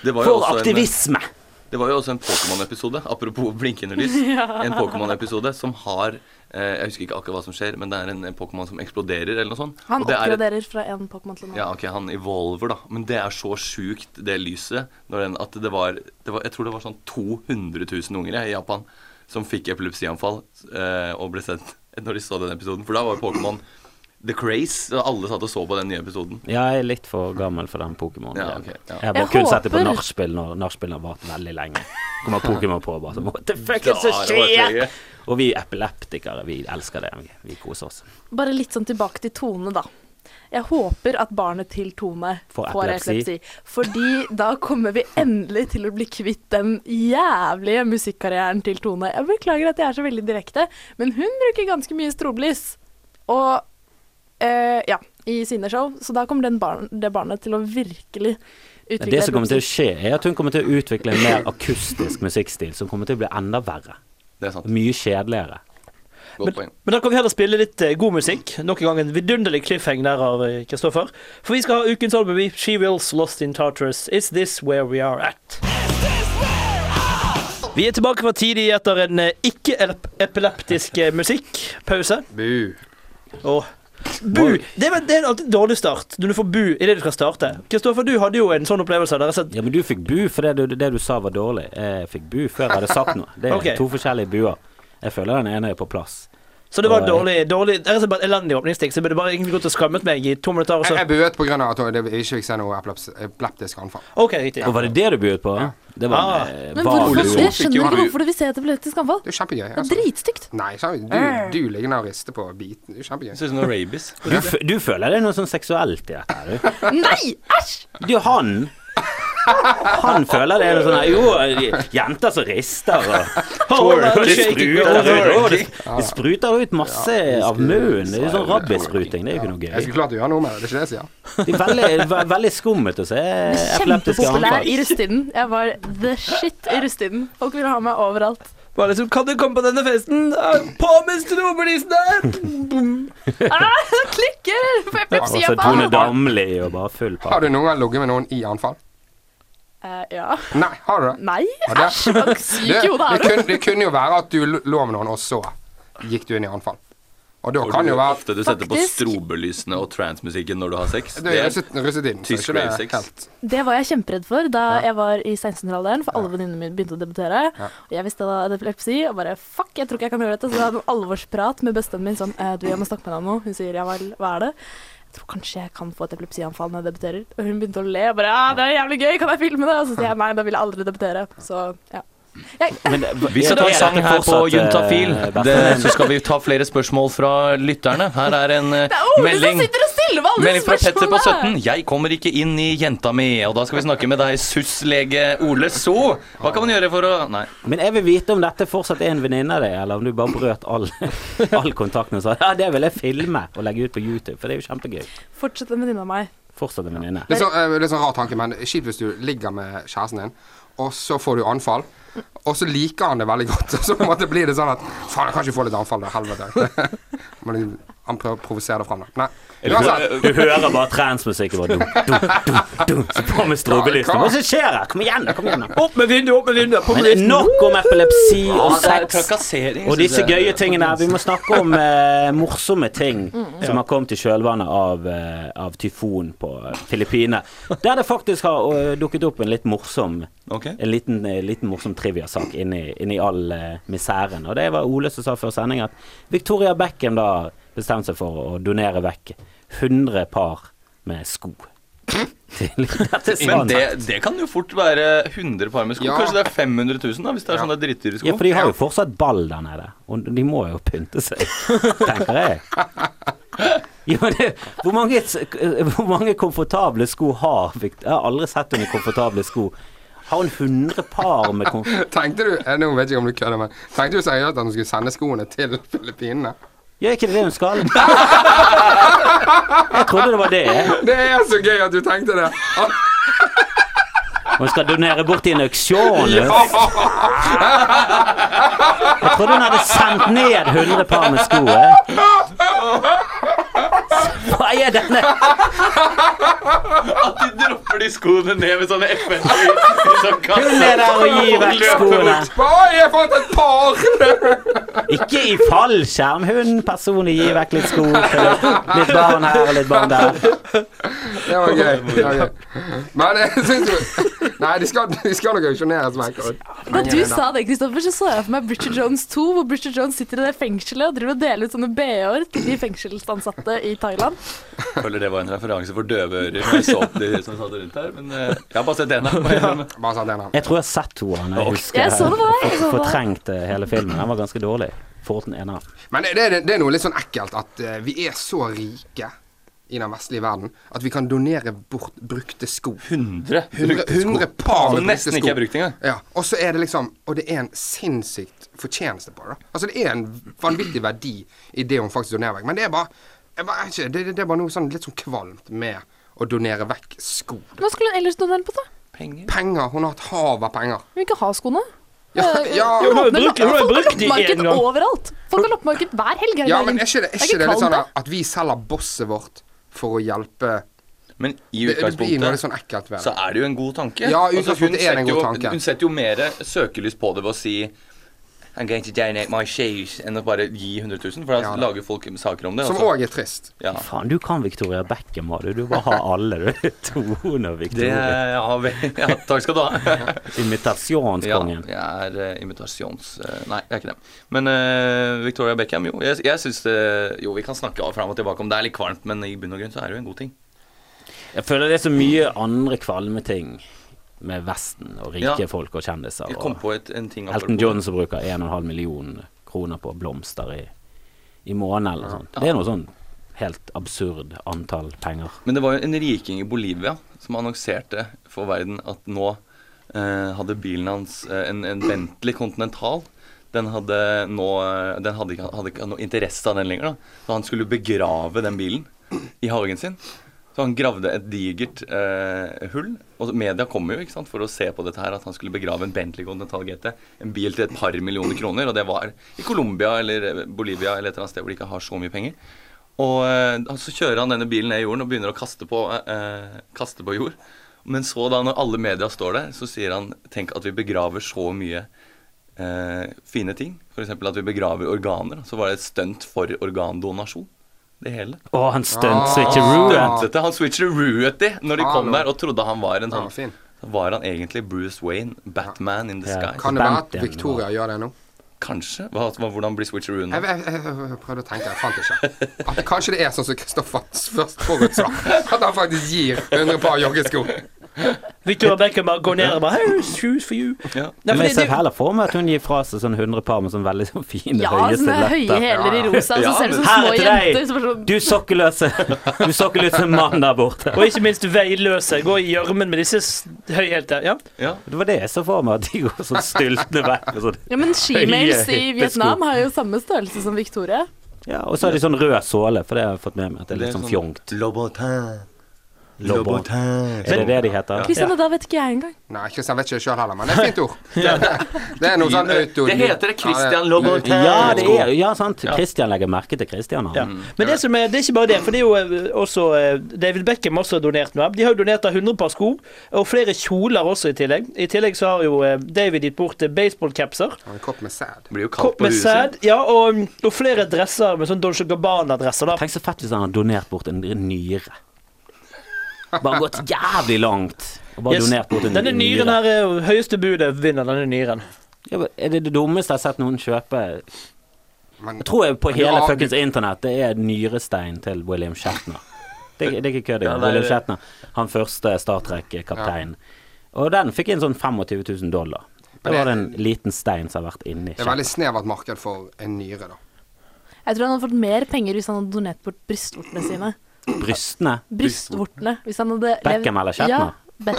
Speaker 6: Det var jo
Speaker 4: for
Speaker 6: også en- eh,
Speaker 4: aktivisme!
Speaker 6: Det var jo også en Pokémon-episode, apropos blinkende lys. En Pokémon-episode som har eh, Jeg husker ikke akkurat hva som skjer, men det er en eh, Pokémon som eksploderer, eller noe sånt.
Speaker 2: Han
Speaker 6: Og det er et-
Speaker 2: oppgraderer fra en Pokémon til en annen.
Speaker 6: Ja, ok, han evolver, da. Men det er så sjukt, det lyset, når den, at det var, det var Jeg tror det var sånn 200 000 unger jeg, i Japan som fikk epilepsianfall eh, og ble sendt når de så den episoden. For da var jo Pokémon the craze, og alle satt og så på den nye episoden.
Speaker 4: Ja, jeg er litt for gammel for den Pokémon.
Speaker 6: Ja, ok, ja.
Speaker 4: Jeg har bare
Speaker 2: Jeg
Speaker 4: kun sett det på
Speaker 2: håper-
Speaker 4: nachspiel når nachspiel har vart veldig lenge. Kommer Pokémon på og bare sånn What the fuck
Speaker 6: Ja,
Speaker 4: is det som
Speaker 6: det var
Speaker 4: skjer?
Speaker 6: trøye.
Speaker 4: Og vi epileptikere, vi elsker det. Vi, vi koser oss.
Speaker 2: Bare litt sånn tilbake til Tone, da. Jeg håper at barnet til Tone
Speaker 4: Får
Speaker 2: får,
Speaker 4: epilepsi.
Speaker 2: epilepsi. Fordi da kommer vi endelig til å bli kvitt den jævlige musikkarrieren til Tone. Jeg beklager at jeg er så veldig direkte, men hun bruker ganske mye strobelys. Og eh, ja, i sine show. Så da kommer den barn, det barnet til å virkelig utvikle
Speaker 4: Det som kommer til å
Speaker 2: epilepsi.
Speaker 4: skje, er at hun kommer til å utvikle en mer akustisk musikkstil som kommer til å bli enda verre.
Speaker 6: Det er sant.
Speaker 4: Mye kjedeligere.
Speaker 6: Godt poeng.
Speaker 3: Men da kan vi heller spille litt eh, god musikk. Nok en gang en vidunderlig cliffhang der av eh, Kristoffer. For vi skal ha ukens album i She Wills Lost in Tartarus. Is this where we are at? Vi er tilbake fra tidlig etter en eh, ikke-epileptisk eh, musikkpause.
Speaker 5: Bu.
Speaker 3: Og bu! Det er, vel- det er alltid en dårlig start når du får bu idet du skal starte. Kristoffer, du hadde jo en sånn opplevelse. Der jeg satt
Speaker 4: Ja, men du fikk bu fordi det, du- det du sa var dårlig. Jeg fikk bu før jeg hadde sagt noe. Det er
Speaker 3: Ok.
Speaker 4: to forskjellige buer. Jeg føler den ene er på plass.
Speaker 3: så det var
Speaker 4: Oi.
Speaker 3: dårlig, dårlig Det er rett og slett bare et elendig åpningsstikk. Så jeg burde bare egentlig gått og skammet meg i to minutter. Og
Speaker 5: Jeg,
Speaker 3: så.
Speaker 5: jeg buet på grunn av at jeg ikke fikk se noe epileps- epileptisk anfall.
Speaker 3: OK, riktig.
Speaker 4: Og var det det du buet på? Det var
Speaker 3: Ah.
Speaker 4: en eh, vag
Speaker 2: Men hvorfor,
Speaker 4: bue.
Speaker 2: jeg
Speaker 6: fikk jo
Speaker 2: skjønner
Speaker 6: han
Speaker 2: ikke
Speaker 6: ut.
Speaker 2: hvorfor du vil se et epileptisk anfall.
Speaker 5: Det er jo kjempegøy.
Speaker 2: Det er
Speaker 5: Altså.
Speaker 2: dritstygt.
Speaker 5: Nei, kjempegøy. du, du ligger der og rister på biten. Det er jo
Speaker 6: Det
Speaker 5: kjempegøy.
Speaker 6: ser ut som noe rabies.
Speaker 4: Du, f- du føler det er noe sånn seksuelt i dette her, du.
Speaker 2: Nei! Æsj!
Speaker 4: Det er jo han. Han føler det er noe sånn her, Jo, jenter som rister og
Speaker 3: Hold on,
Speaker 4: og det
Speaker 3: shake it,
Speaker 4: spruter,
Speaker 3: go.
Speaker 4: ut, og det, det spruter ut masse av munnen. Det er jo sånn rabiesspruting. Det er jo ikke
Speaker 5: Jeg
Speaker 4: noe gøy.
Speaker 5: skulle klart å gjøre noe med det. Det er ikke det jeg sier.
Speaker 4: Det er veldig, ve- veldig skummelt å se epileptiske
Speaker 2: Kjempepopulær
Speaker 4: Eh, anfall.
Speaker 2: i russetiden. Jeg var the shit i russetiden. Folk ville ha meg overalt.
Speaker 3: Bare liksom, kan du komme på denne festen? Ah, På med strobelysen der!
Speaker 2: Ah, det klikker! Får
Speaker 4: Og
Speaker 2: epilepsi
Speaker 4: så
Speaker 2: av
Speaker 4: Altså, Tone
Speaker 2: alt.
Speaker 4: Damli og bare full
Speaker 5: Har
Speaker 4: pakke.
Speaker 5: du noen gang ligget med noen i anfall?
Speaker 2: Eh, ja.
Speaker 5: Nei, har du det?
Speaker 2: Nei,
Speaker 5: Ja, det-
Speaker 2: æsj, hva syk
Speaker 5: Det,
Speaker 2: i hodet
Speaker 5: det,
Speaker 2: er du?
Speaker 5: kunne, det kunne jo være at du lå med noen, og så gikk du inn i anfall. Og Og da
Speaker 6: Hvor
Speaker 5: kan
Speaker 6: du
Speaker 5: jo være
Speaker 6: ofte du setter på
Speaker 2: Faktisk.
Speaker 6: strobelysene og transmusikken når du har sex.
Speaker 5: Det er russet- russetiden. så
Speaker 6: tysk
Speaker 5: ikke det er
Speaker 6: ravesex.
Speaker 5: helt
Speaker 2: Det var jeg kjemperedd for da
Speaker 5: Ja.
Speaker 2: jeg var i 1600-alderen, for alle venninnene mine begynte å debutere.
Speaker 5: Ja.
Speaker 2: Og jeg visste da det var epilepsi, og bare fuck, jeg tror ikke jeg kan gjøre dette. Så jeg hadde en alvorsprat med bestevennen min sånn eh, du, jeg må snakke med deg om noe. Hun sier ja vel, hva er det? Jeg tror kanskje jeg kan få et epilepsianfall når jeg debuterer. Og hun begynte å le og bare ja, det er jævlig gøy, kan jeg filme det? Og så sier jeg nei, da vil jeg aldri debutere. Så ja.
Speaker 4: Men, eh,
Speaker 6: Vi skal ta en sang her på
Speaker 2: eh,
Speaker 6: Juntafil, det, så skal vi ta flere spørsmål fra lytterne. Her er en eh,
Speaker 2: Det er Ole
Speaker 6: melding.
Speaker 2: som sitter og stiller meg alle
Speaker 6: Melding fra Petter på
Speaker 2: spørsmålene!
Speaker 6: 17. Jeg kommer ikke inn i jenta mi. Og da skal vi snakke med deg, SUS-lege Ole So. Hva kan man gjøre for å Nei.
Speaker 4: Men jeg vil vite om dette fortsatt er en venninne av deg, eller om du bare brøt all, all kontakten og sa ja, det vil jeg filme og legge ut på YouTube, for det er jo kjempegøy.
Speaker 2: Fortsett en venninne av meg.
Speaker 4: Fortsatt en venninne.
Speaker 5: Litt sånn, eh, litt sånn rar tanke, men kjipt hvis du ligger med kjæresten din, og så får du anfall. Og så liker han det veldig godt, og så på en måte blir det sånn at Faen, jeg kan ikke få litt anfall, da. Helvete. Men liksom, han prøver å provosere det fram, da. Nei. Uansett.
Speaker 4: Du hører bare transmusikken vår. Så på med strobelysene. Hva er det som skjer her? Kom igjen, da, kom igjen. da.
Speaker 3: Opp med vinduet, opp med vinduet! På med
Speaker 4: Men
Speaker 3: listen.
Speaker 4: nok om epilepsi og
Speaker 6: det er
Speaker 4: sex.
Speaker 6: trakassering.
Speaker 4: Og disse gøye tingene. Vi må snakke om eh, morsomme ting som har kommet i kjølvannet av, eh, av tyfon på eh, Filippinene. Der det faktisk har eh, dukket opp en litt morsom
Speaker 6: Ok.
Speaker 4: En liten, eh, liten morsom triviasak inni, inni all eh, miseren. Og det var Ole som sa før sending at Victoria Beckham da bestemte seg for å donere vekk 100 par med sko. Til dette
Speaker 6: Men
Speaker 4: sånn.
Speaker 6: det, det kan jo fort være 100 par med sko.
Speaker 5: Ja.
Speaker 6: Kanskje det er 500 000 da, hvis det er
Speaker 5: Ja.
Speaker 6: sånne drittdyre sko.
Speaker 4: Ja, for de har jo fortsatt ball der nede, og de må jo pynte seg, tenker jeg. Ja, men det, hvor, mange, s- k- hvor mange komfortable sko har Vikt- Jeg har aldri sett henne i komfortable sko. Har hun 100 par med kom...
Speaker 5: Tenkte du eh, Nå vet jeg ikke om du kødder, men tenkte du seriøst at han skulle sende skoene til Filippinene?
Speaker 4: Ja, er ikke det det hun skal? Jeg trodde det var det. jeg.
Speaker 5: Det er så gøy at du tenkte det!
Speaker 4: Hun skal donere bort i en auksjon. jo. Jeg trodde hun hadde sendt ned 100 par med sko. jeg. Hva er denne?
Speaker 6: At de dropper de skoene ned med sånne FN-lys som
Speaker 4: Hun er der og gir vekk skoene.
Speaker 5: Oi, jeg fant et par!
Speaker 4: Ikke i fallskjerm. Hun personlig gir vekk litt sko til litt barn her og litt barn der.
Speaker 5: Det var gøy. Det var gøy. Men jeg syns jo Nei, de skal, de skal nok auksjoneres vekk. og-
Speaker 2: Da du sa det, Kristoffer, så så jeg for meg Bridget Jones 2, hvor Bridget Jones sitter i det fengselet og driver og deler ut sånne BH-er til de fengselsansatte i Thailand.
Speaker 6: Føler det var en referanse for døve ører. når Jeg så de som satt rundt her, men eh, jeg har bare sett den her. må jeg innrømme.
Speaker 5: Bare sa det navn.
Speaker 4: Jeg tror jeg har sett henne. når Jeg husker
Speaker 2: Jeg så det på deg. jeg så det på deg.
Speaker 4: Fortrengt eh, hele filmen. Den var ganske dårlig. Forten ene.
Speaker 5: Men det, det, det er noe litt sånn ekkelt at eh, vi er så rike i den vestlige verden at vi kan donere bort brukte sko.
Speaker 6: 100
Speaker 5: 100, 100 par med
Speaker 6: Som
Speaker 5: brukte
Speaker 6: nesten
Speaker 5: sko.
Speaker 6: ikke er brukt engang.
Speaker 5: Ja, og så er det liksom Og det er en sinnssykt fortjeneste på det. da. Altså, det er en vanvittig verdi i det hun faktisk donerer vekk. Men det er bare, jeg bare jeg vet ikke, det, det- det er bare noe sånn litt sånn kvalmt med å donere vekk sko.
Speaker 2: Hva skulle hun ellers donere på, da?
Speaker 5: Penger. Hun har et hav av penger.
Speaker 2: Hun vil ikke ha skoene.
Speaker 5: Ja,
Speaker 2: Eh,
Speaker 5: ja.
Speaker 2: hun
Speaker 3: Hun har jo
Speaker 2: åpner altså,
Speaker 3: brukt- hun har jo
Speaker 2: folk har
Speaker 3: brukt de
Speaker 2: loppemarked
Speaker 3: en gang.
Speaker 2: overalt. Folk har loppemarked hver helg. her i
Speaker 5: Ja,
Speaker 2: Bergen.
Speaker 5: men er ikke det, er
Speaker 2: ikke
Speaker 5: ikke det litt
Speaker 2: kaldt,
Speaker 5: sånn
Speaker 2: da.
Speaker 5: at vi selger bosset vårt for å hjelpe
Speaker 6: Men i
Speaker 5: Det, det blir noe
Speaker 6: utgangspunktet
Speaker 5: litt sånn ekkelt ved
Speaker 6: så
Speaker 5: det.
Speaker 6: er det jo en god tanke.
Speaker 5: Ja,
Speaker 6: Altså, hun,
Speaker 5: utgangspunktet er det
Speaker 6: setter
Speaker 5: en
Speaker 6: jo,
Speaker 5: god tanke.
Speaker 6: hun setter jo mer søkelys på det ved å si I'm going to donate my shoes enn å bare gi 100 000, for da
Speaker 5: Ja, da.
Speaker 6: lager folk saker om det.
Speaker 5: Som
Speaker 6: altså.
Speaker 5: òg er trist.
Speaker 6: Ja.
Speaker 4: Faen, du kan Victoria Beckham, har du. Du bare har alle, du. Tone og
Speaker 6: Det
Speaker 4: Victoria.
Speaker 6: har vi. Ja, takk skal du ha. Ja,
Speaker 4: Imitasjonskongen.
Speaker 6: jeg er eh, imitasjons... eh, nei, jeg er ikke det. Men eh, Victoria Beckham, jo. Jeg, jeg syns det Jo, vi kan snakke av fram og tilbake om det er litt kvalmt, men i bunn og grunn så er det jo en god ting.
Speaker 4: Jeg føler det er så mye andre kvalme ting med Vesten og rike
Speaker 6: Ja.
Speaker 4: folk og kjendiser.
Speaker 6: Jeg kom
Speaker 4: Og
Speaker 6: på et, en ting apropos
Speaker 4: Elton John som bruker 1,5 million kroner på blomster i, i måneden eller noe sånt. Det er noe sånn helt absurd antall penger.
Speaker 6: Men det var jo en riking i Bolivia som annonserte for verden at nå eh, hadde bilen hans eh, en, en Bentley Continental. Den hadde nå eh, Den hadde ikke, hadde ikke noe interesse av den lenger, da. Så han skulle begrave den bilen i hagen sin. Så han gravde et digert eh, hull. Og så- media kom jo ikke sant, for å se på dette her, at han skulle begrave en Bentley Continental GT. En bil til et par millioner kroner, og det var i Colombia eller Bolivia eller et eller annet sted hvor de ikke har så mye penger. Og eh, så kjører han denne bilen ned i jorden og begynner å kaste på, eh, kaste på jord. Men så da, når alle media står der, så sier han Tenk at vi begraver så mye eh, fine ting. F.eks. at vi begraver organer. Så var det et stunt for organdonasjon. Det hele.
Speaker 4: Å, han stunt
Speaker 6: Ah.
Speaker 4: switcheroo.
Speaker 6: Stuntete. Han switcheroo-ete når de kom
Speaker 5: Hallo.
Speaker 6: der og trodde han var en
Speaker 5: Ja,
Speaker 6: sånn
Speaker 5: fin.
Speaker 6: Var han egentlig Bruce Wayne? Batman in the
Speaker 4: Ja.
Speaker 6: sky?
Speaker 5: Kan det være
Speaker 4: Bent
Speaker 5: at
Speaker 4: igjen,
Speaker 5: Victoria gjør det nå?
Speaker 6: Kanskje? Hva, hva, hvordan blir switcherooen?
Speaker 5: Jeg, jeg, jeg, jeg prøvde å tenke, jeg fant ikke. At det kanskje det er sånn som Kristoffer først forutså. At han faktisk gir 100 par joggesko.
Speaker 3: Victoria Beckham bare går ned og bare hey, shoes for you.
Speaker 6: Ja.
Speaker 3: Nei, for
Speaker 4: Men jeg
Speaker 3: det,
Speaker 4: ser
Speaker 3: det,
Speaker 4: heller for meg at hun gir fra seg sånn 100 par med sånn veldig sånn fine,
Speaker 2: Ja,
Speaker 4: høye
Speaker 2: sånne høye
Speaker 4: stiletter.
Speaker 2: hæler i rosa,
Speaker 6: Ja,
Speaker 2: så ser det ut som
Speaker 4: her
Speaker 2: små
Speaker 4: er til deg.
Speaker 2: jenter. Som er sånn,
Speaker 4: Du sokkeløse Du sokkeløse mann der borte.
Speaker 3: og ikke minst veiløse. Gå i gjørmen med disse s- høyhælte. Ja.
Speaker 6: Ja.
Speaker 4: Det var det jeg så for meg, at de går sånn styltende vekk. Og sånn.
Speaker 2: ja, men shemales
Speaker 4: Høye,
Speaker 2: i
Speaker 4: hippe
Speaker 2: Vietnam
Speaker 4: sko.
Speaker 2: har jo samme størrelse som Victoria.
Speaker 4: Ja, og så har de sånn rød såle, for det har jeg fått med meg. At det er litt
Speaker 6: Det er
Speaker 4: sånn
Speaker 6: sånn-
Speaker 4: fjongt.
Speaker 8: Lobotin.
Speaker 4: Lobo. Er det det de heter?
Speaker 2: Kristian, og da vet ikke jeg engang.
Speaker 5: Nei, Kristian vet ikke sjøl heller, men det er et fint ord. Det er noe sånn auto...
Speaker 6: Det heter det Christian Lobotin.
Speaker 4: Ja, det er, ja sant. Christian legger merke til Christian.
Speaker 3: Ja.
Speaker 4: Han.
Speaker 3: Men det, som er, det er ikke bare det, for det er jo eh, også eh, David Beckham også har donert noe. De har jo donert da 100 par sko, og flere kjoler også i tillegg. I tillegg så har jo eh, David gitt bort eh, baseballcapser.
Speaker 5: En kopp med sæd.
Speaker 6: Det blir jo kaldt
Speaker 3: Kopp
Speaker 6: på
Speaker 3: med
Speaker 6: huset.
Speaker 3: sæd. Ja, og, mm, og flere dresser med sånn Dolce Gabbana-dresser, da.
Speaker 4: Tenk så fett hvis han hadde donert bort en nyre. Bare gått jævlig langt. Og bare
Speaker 3: Yes.
Speaker 4: donert bort en
Speaker 3: Denne nyren her er jo høyeste budet vinner denne nyren.
Speaker 4: Ja, men Er det det dummeste jeg har sett noen kjøpe?
Speaker 5: Men
Speaker 4: Jeg tror jeg på hele
Speaker 5: Ja, du-
Speaker 4: fuckings internett det er nyrestein til William Shatner. Det, det er ikke kødd.
Speaker 6: Ja,
Speaker 4: engang.
Speaker 6: nei,
Speaker 4: William
Speaker 6: det-
Speaker 4: Shatner, han første Star Trek-kapteinen. Og den fikk inn sånn 25 000 dollar. Det
Speaker 5: Men det-
Speaker 4: var det en liten stein som har vært inni
Speaker 5: det er veldig snevert marked for en nyre, da.
Speaker 2: Jeg tror han hadde fått mer penger hvis han hadde donert bort brystvortene sine.
Speaker 4: brystene.
Speaker 2: Brystvortene. Hvis han hadde levd-
Speaker 4: Beckham eller Shatner?
Speaker 2: Ja, Be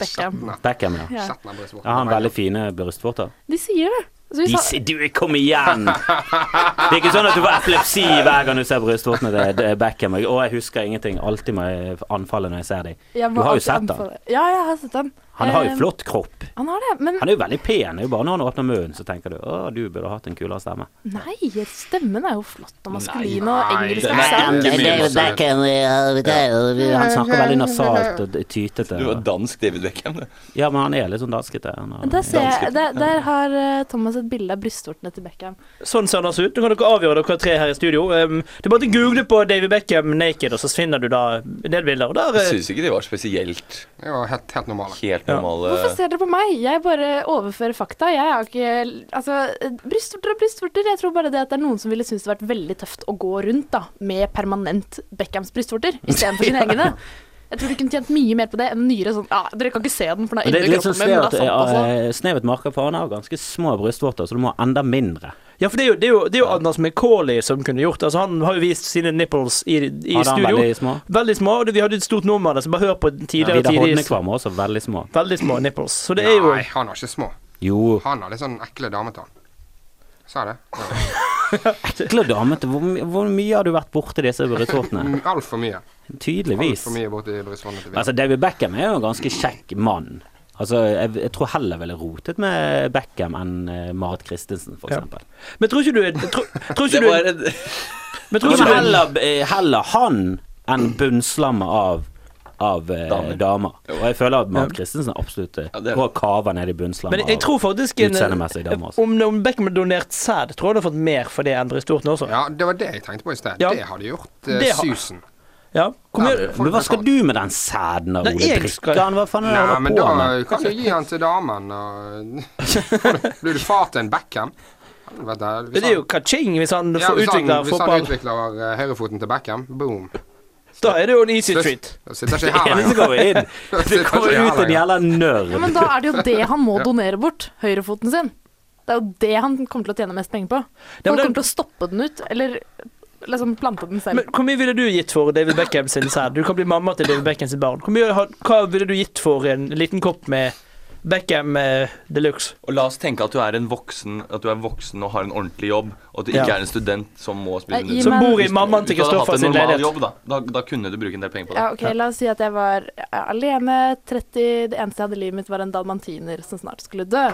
Speaker 2: Beckham.
Speaker 4: Beckham, ja.
Speaker 2: Ja.
Speaker 5: Shatner brystvorten.
Speaker 4: Jeg har en veldig fine brystvorter.
Speaker 2: De sier det. Så hvis
Speaker 4: De
Speaker 2: han,
Speaker 4: sier du, kom igjen! Det er ikke sånn at du får epilepsi hver gang du ser brystvortene til til Beckham. Og jeg husker ingenting. Alltid må jeg anfalle når jeg ser dem.
Speaker 2: jeg
Speaker 4: Du
Speaker 2: må
Speaker 4: har jo
Speaker 2: alltid
Speaker 4: sett han.
Speaker 2: anbefale- Ja, jeg har sett han.
Speaker 4: Han har jo
Speaker 2: Eh,
Speaker 4: flott kropp.
Speaker 2: Han har det, men
Speaker 4: Han er jo veldig pen. Det er jo bare når han åpner munnen, så tenker du å, du burde hatt en kulere stemme.
Speaker 2: nei, stemmen er jo flott og maskulin og
Speaker 5: Nei,
Speaker 2: engelsk altså.
Speaker 5: det er
Speaker 2: aksent.
Speaker 5: ikke eh, mye å si.
Speaker 4: Han snakker veldig nasalt og
Speaker 6: Du var
Speaker 4: tytete.
Speaker 6: dansk David Beckham, du.
Speaker 4: Ja, men han er litt sånn danskete. Han
Speaker 2: Men Der,
Speaker 4: har-
Speaker 2: ser jeg, der, der har eh, Thomas et bilde av brystvortene til Beckham.
Speaker 3: Sånn ser den altså ut. Nå kan dere avgjøre dere tre her i studio. Um, det er bare å google på David Beckham naked, og så finner du da en del bilder. Og der
Speaker 6: Jeg
Speaker 3: eh,
Speaker 6: syns ikke de var spesielt
Speaker 5: Det var helt, helt normale.
Speaker 6: helt normale
Speaker 2: Hvorfor ser dere på meg? Jeg bare overfører fakta. Jeg har ikke Altså, eh, brystvorter og brystvorter. Jeg tror bare det at det er noen som ville synes det vært veldig tøft å gå rundt da, med permanent Beckhams brystvorter istedenfor sine egne. Jeg tror du kunne tjent mye mer på det enn nyere sånn Ja, dere kan ikke se den, for den
Speaker 4: Men
Speaker 2: er
Speaker 4: det er
Speaker 2: inni
Speaker 4: litt sånn
Speaker 2: kroppen min, men
Speaker 4: snevert,
Speaker 2: det er sant, altså.
Speaker 4: eh, snevert marked, for han har jo ganske små brystvorter, så du må ha enda mindre.
Speaker 3: Ja, for det er jo, det er jo, det er jo Anders McCauley som kunne gjort det. Altså, han har jo vist sine nipples i, i
Speaker 4: Hadde han
Speaker 3: studio.
Speaker 4: veldig
Speaker 3: Veldig...
Speaker 4: små?
Speaker 3: små. og det- Vi hadde et stort nummer av det, så bare hør på
Speaker 4: Ja,
Speaker 3: tidligere
Speaker 4: Vidar
Speaker 3: tidlig.
Speaker 4: Hodnekvam var også veldig små.
Speaker 3: Veldig små nipples. Så det er jo
Speaker 5: Nei, han har ikke små.
Speaker 4: Jo.
Speaker 5: Han har litt sånn ekle dametann. Sa jeg det? Ja.
Speaker 4: Ekle damete. Hvor, my- hvor mye har du vært borti disse brystvortene?
Speaker 5: Altfor mye.
Speaker 4: Tydeligvis.
Speaker 5: Altfor mye borti brystvortene til Vidar.
Speaker 4: Altså, David Beckham er jo en ganske kjekk mann. Altså, jeg, jeg tror heller ville rotet med Beckham enn eh, Marit Christensen, for
Speaker 3: Ja.
Speaker 4: eksempel.
Speaker 3: Men tror ikke du tro, tror ikke
Speaker 6: Det
Speaker 3: du,
Speaker 6: var en
Speaker 3: men tror
Speaker 4: Ja.
Speaker 3: ikke du
Speaker 4: Heller, eh, heller han enn bunnslammet av, av eh,
Speaker 6: Damer.
Speaker 4: damer. Og jeg føler at Marit Christensen er absolutt eh,
Speaker 6: Ja, det er-
Speaker 4: og kaver ned i
Speaker 3: Men
Speaker 4: bunnslammet
Speaker 3: jeg tror faktisk en,
Speaker 4: Utseendemessig damer, altså.
Speaker 3: om, om Beckham hadde donert sæd, tror jeg han hadde fått mer for det enn brystvortene også.
Speaker 5: Ja, det var det jeg tenkte på i sted.
Speaker 3: Ja.
Speaker 5: Det hadde gjort eh,
Speaker 3: Det har-
Speaker 5: susen.
Speaker 3: Ja. Hvor
Speaker 5: Ja,
Speaker 3: mye
Speaker 5: det-
Speaker 4: Men hva skal du med den sæden da,
Speaker 3: Nei,
Speaker 4: Ole?
Speaker 3: jeg skal-
Speaker 4: Drikker han? Hva faen er det du
Speaker 5: Nei, men
Speaker 4: holder på med?
Speaker 5: da kan du gi han til damen og Blir du far til en Beckham? Vet du,
Speaker 3: Det er jo ka-ching hvis han
Speaker 5: Ja,
Speaker 3: får
Speaker 5: hvis han,
Speaker 3: utvikle
Speaker 5: hvis han
Speaker 3: fotball.
Speaker 5: utvikler eh, høyrefoten til Beckham, boom.
Speaker 3: Da er det jo en easy
Speaker 5: Slutt.
Speaker 3: treat.
Speaker 5: Da sitter ikke jeg her
Speaker 4: Eneste
Speaker 5: lenger.
Speaker 4: går inn.
Speaker 5: Da
Speaker 4: Det
Speaker 5: sitter ikke
Speaker 4: liksom- kommer
Speaker 5: jeg
Speaker 4: ut
Speaker 5: her
Speaker 4: en
Speaker 5: lenger.
Speaker 4: jævla nørd.
Speaker 2: Ja, men da er det jo det han må donere bort. Høyrefoten sin. Det er jo det han kommer til å tjene mest penger på.
Speaker 3: Ja, men
Speaker 2: Folk
Speaker 3: det-
Speaker 2: kommer til å stoppe den ut, eller liksom plante den selv.
Speaker 3: Men Hvor mye ville du gitt for David Beckham sin sæd? Du kan bli mamma til David Beckham sitt barn. Hvor mye, ha- hva ville du gitt for en liten kopp med Beckham eh, de luxe?
Speaker 6: Og la oss tenke at du er en voksen At du er voksen og har en ordentlig jobb, og at du
Speaker 3: Ja.
Speaker 6: ikke er en student som må spille
Speaker 2: Nei, gi
Speaker 6: nudel.
Speaker 3: Som
Speaker 2: Men-
Speaker 3: bor i
Speaker 6: Hvis-
Speaker 3: mammaen til
Speaker 6: hvis du hadde hatt
Speaker 3: Kristoffer
Speaker 6: en
Speaker 3: sin
Speaker 6: normal
Speaker 3: leilighet.
Speaker 6: jobb, da, da, da kunne du bruke en del penger på det.
Speaker 2: Ja, ok, La oss si at jeg var eh, alene, 30 Det eneste jeg hadde i livet mitt, var en dalmantiner som snart skulle dø.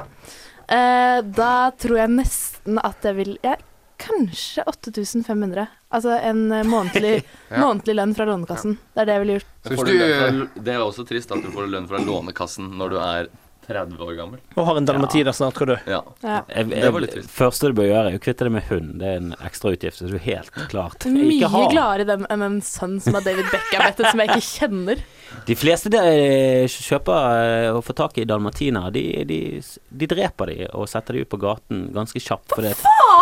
Speaker 2: Eh, da tror jeg nesten at jeg vil jeg, Kanskje 8500. Altså en eh, månedlig,
Speaker 5: Ja.
Speaker 2: månedlig lønn fra Lånekassen. Det er det jeg ville gjort.
Speaker 5: Så hvis
Speaker 6: Får du
Speaker 5: du, eh,
Speaker 6: lønn fra, det er også trist at du får lønn fra Lånekassen når du er 30 år gammel.
Speaker 3: Og har en dalmatiner snart, skal du.
Speaker 6: Ja.
Speaker 2: Ja.
Speaker 4: Jeg,
Speaker 6: Det var litt
Speaker 4: jeg,
Speaker 6: trist.
Speaker 4: første du bør gjøre, er å kvitte deg med hund. Det er en ekstrautgift. så Du er helt klart
Speaker 2: Mye
Speaker 4: ikke har.
Speaker 2: gladere i den enn en sønn som er David Beckham-vettet, som jeg ikke kjenner.
Speaker 4: De fleste de kjøper eh, og får tak i dalmatiner. De, de, de dreper de og setter de ut på gaten ganske kjapt. For det.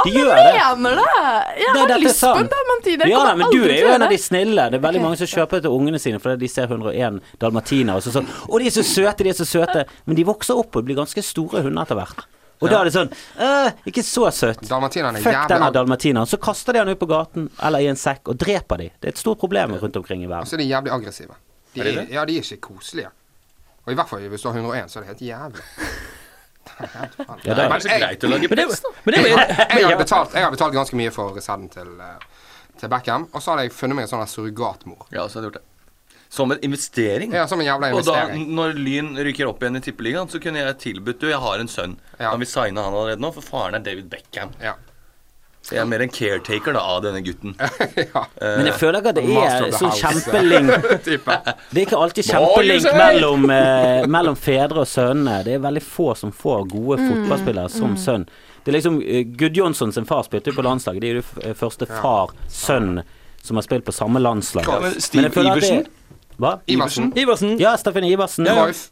Speaker 4: De gjør det.
Speaker 2: Mener det! Jeg
Speaker 4: Det-
Speaker 2: har
Speaker 4: dette er
Speaker 2: lyst på en
Speaker 4: sant.
Speaker 2: dalmatiner. Jeg
Speaker 4: Ja,
Speaker 2: kommer
Speaker 4: nei, men du
Speaker 2: aldri
Speaker 4: er
Speaker 2: til å
Speaker 4: jo en
Speaker 2: gjøre
Speaker 4: av de
Speaker 2: det.
Speaker 4: snille. Det er veldig
Speaker 2: Ok.
Speaker 4: mange som kjøper til ungene sine fordi de ser 101 dalmatiner og så sånn Å, de er så søte, de er så søte. Men de vokser opp og blir ganske store hunder etter hvert. Og da er det sånn «Øh, Ikke så søt.
Speaker 5: Dalmatinerne er
Speaker 4: Fuck
Speaker 5: jævlig
Speaker 4: denne
Speaker 5: ag-
Speaker 4: dalmatineren. Så kaster de han ut på gaten eller i en sekk og dreper de. Det er et stort problem rundt omkring i
Speaker 5: Og
Speaker 4: verden.
Speaker 5: så er de jævlig aggressive. De,
Speaker 6: Er de det?
Speaker 5: Ja, de er ikke koselige. Og i hvert fall hvis du har 101, så er det helt jævlig.
Speaker 4: Ja,
Speaker 6: Det
Speaker 4: det
Speaker 6: er
Speaker 4: er,
Speaker 6: vel så greit å lage
Speaker 3: Men det,
Speaker 6: pels, da.
Speaker 3: men det er
Speaker 5: Jeg har betalt, jeg har betalt ganske mye for reserden til, eh, til Beckham, og så hadde jeg funnet meg en sånn her surrogatmor.
Speaker 6: Ja, så hadde jeg gjort det. Som en investering.
Speaker 5: Ja, som en jævla
Speaker 6: Og da,
Speaker 5: investering.
Speaker 6: når Lyn rykker opp igjen i Tippeligaen, så kunne jeg tilbudt Du, jeg har en sønn.
Speaker 5: Ja.
Speaker 6: Kan vi signe han allerede nå? For faren er David Beckham.
Speaker 5: Ja.
Speaker 6: Så jeg er mer en caretaker da, av denne gutten.
Speaker 5: ja.
Speaker 6: Eh,
Speaker 4: men jeg føler ikke at det
Speaker 5: Master
Speaker 4: er
Speaker 5: of the
Speaker 4: sånn
Speaker 5: house.
Speaker 4: kjempelink
Speaker 5: Type.
Speaker 4: Det er ikke alltid
Speaker 6: Boy, you
Speaker 4: kjempelink
Speaker 6: say!
Speaker 4: mellom, eh, mellom fedre og sønner. Det er veldig få som får gode fotballspillere som sønn. Det er liksom eh, Gudjonsson sin far spilte jo på landslaget. Det er jo f- eh, første far-sønn som har spilt på samme landslag.
Speaker 6: Hva med Steve
Speaker 4: jeg føler at det-
Speaker 6: Iversen?
Speaker 4: Hva?
Speaker 5: Iversen.
Speaker 3: Iversen.
Speaker 4: Ja, Steffen Iversen.
Speaker 5: Cruyff.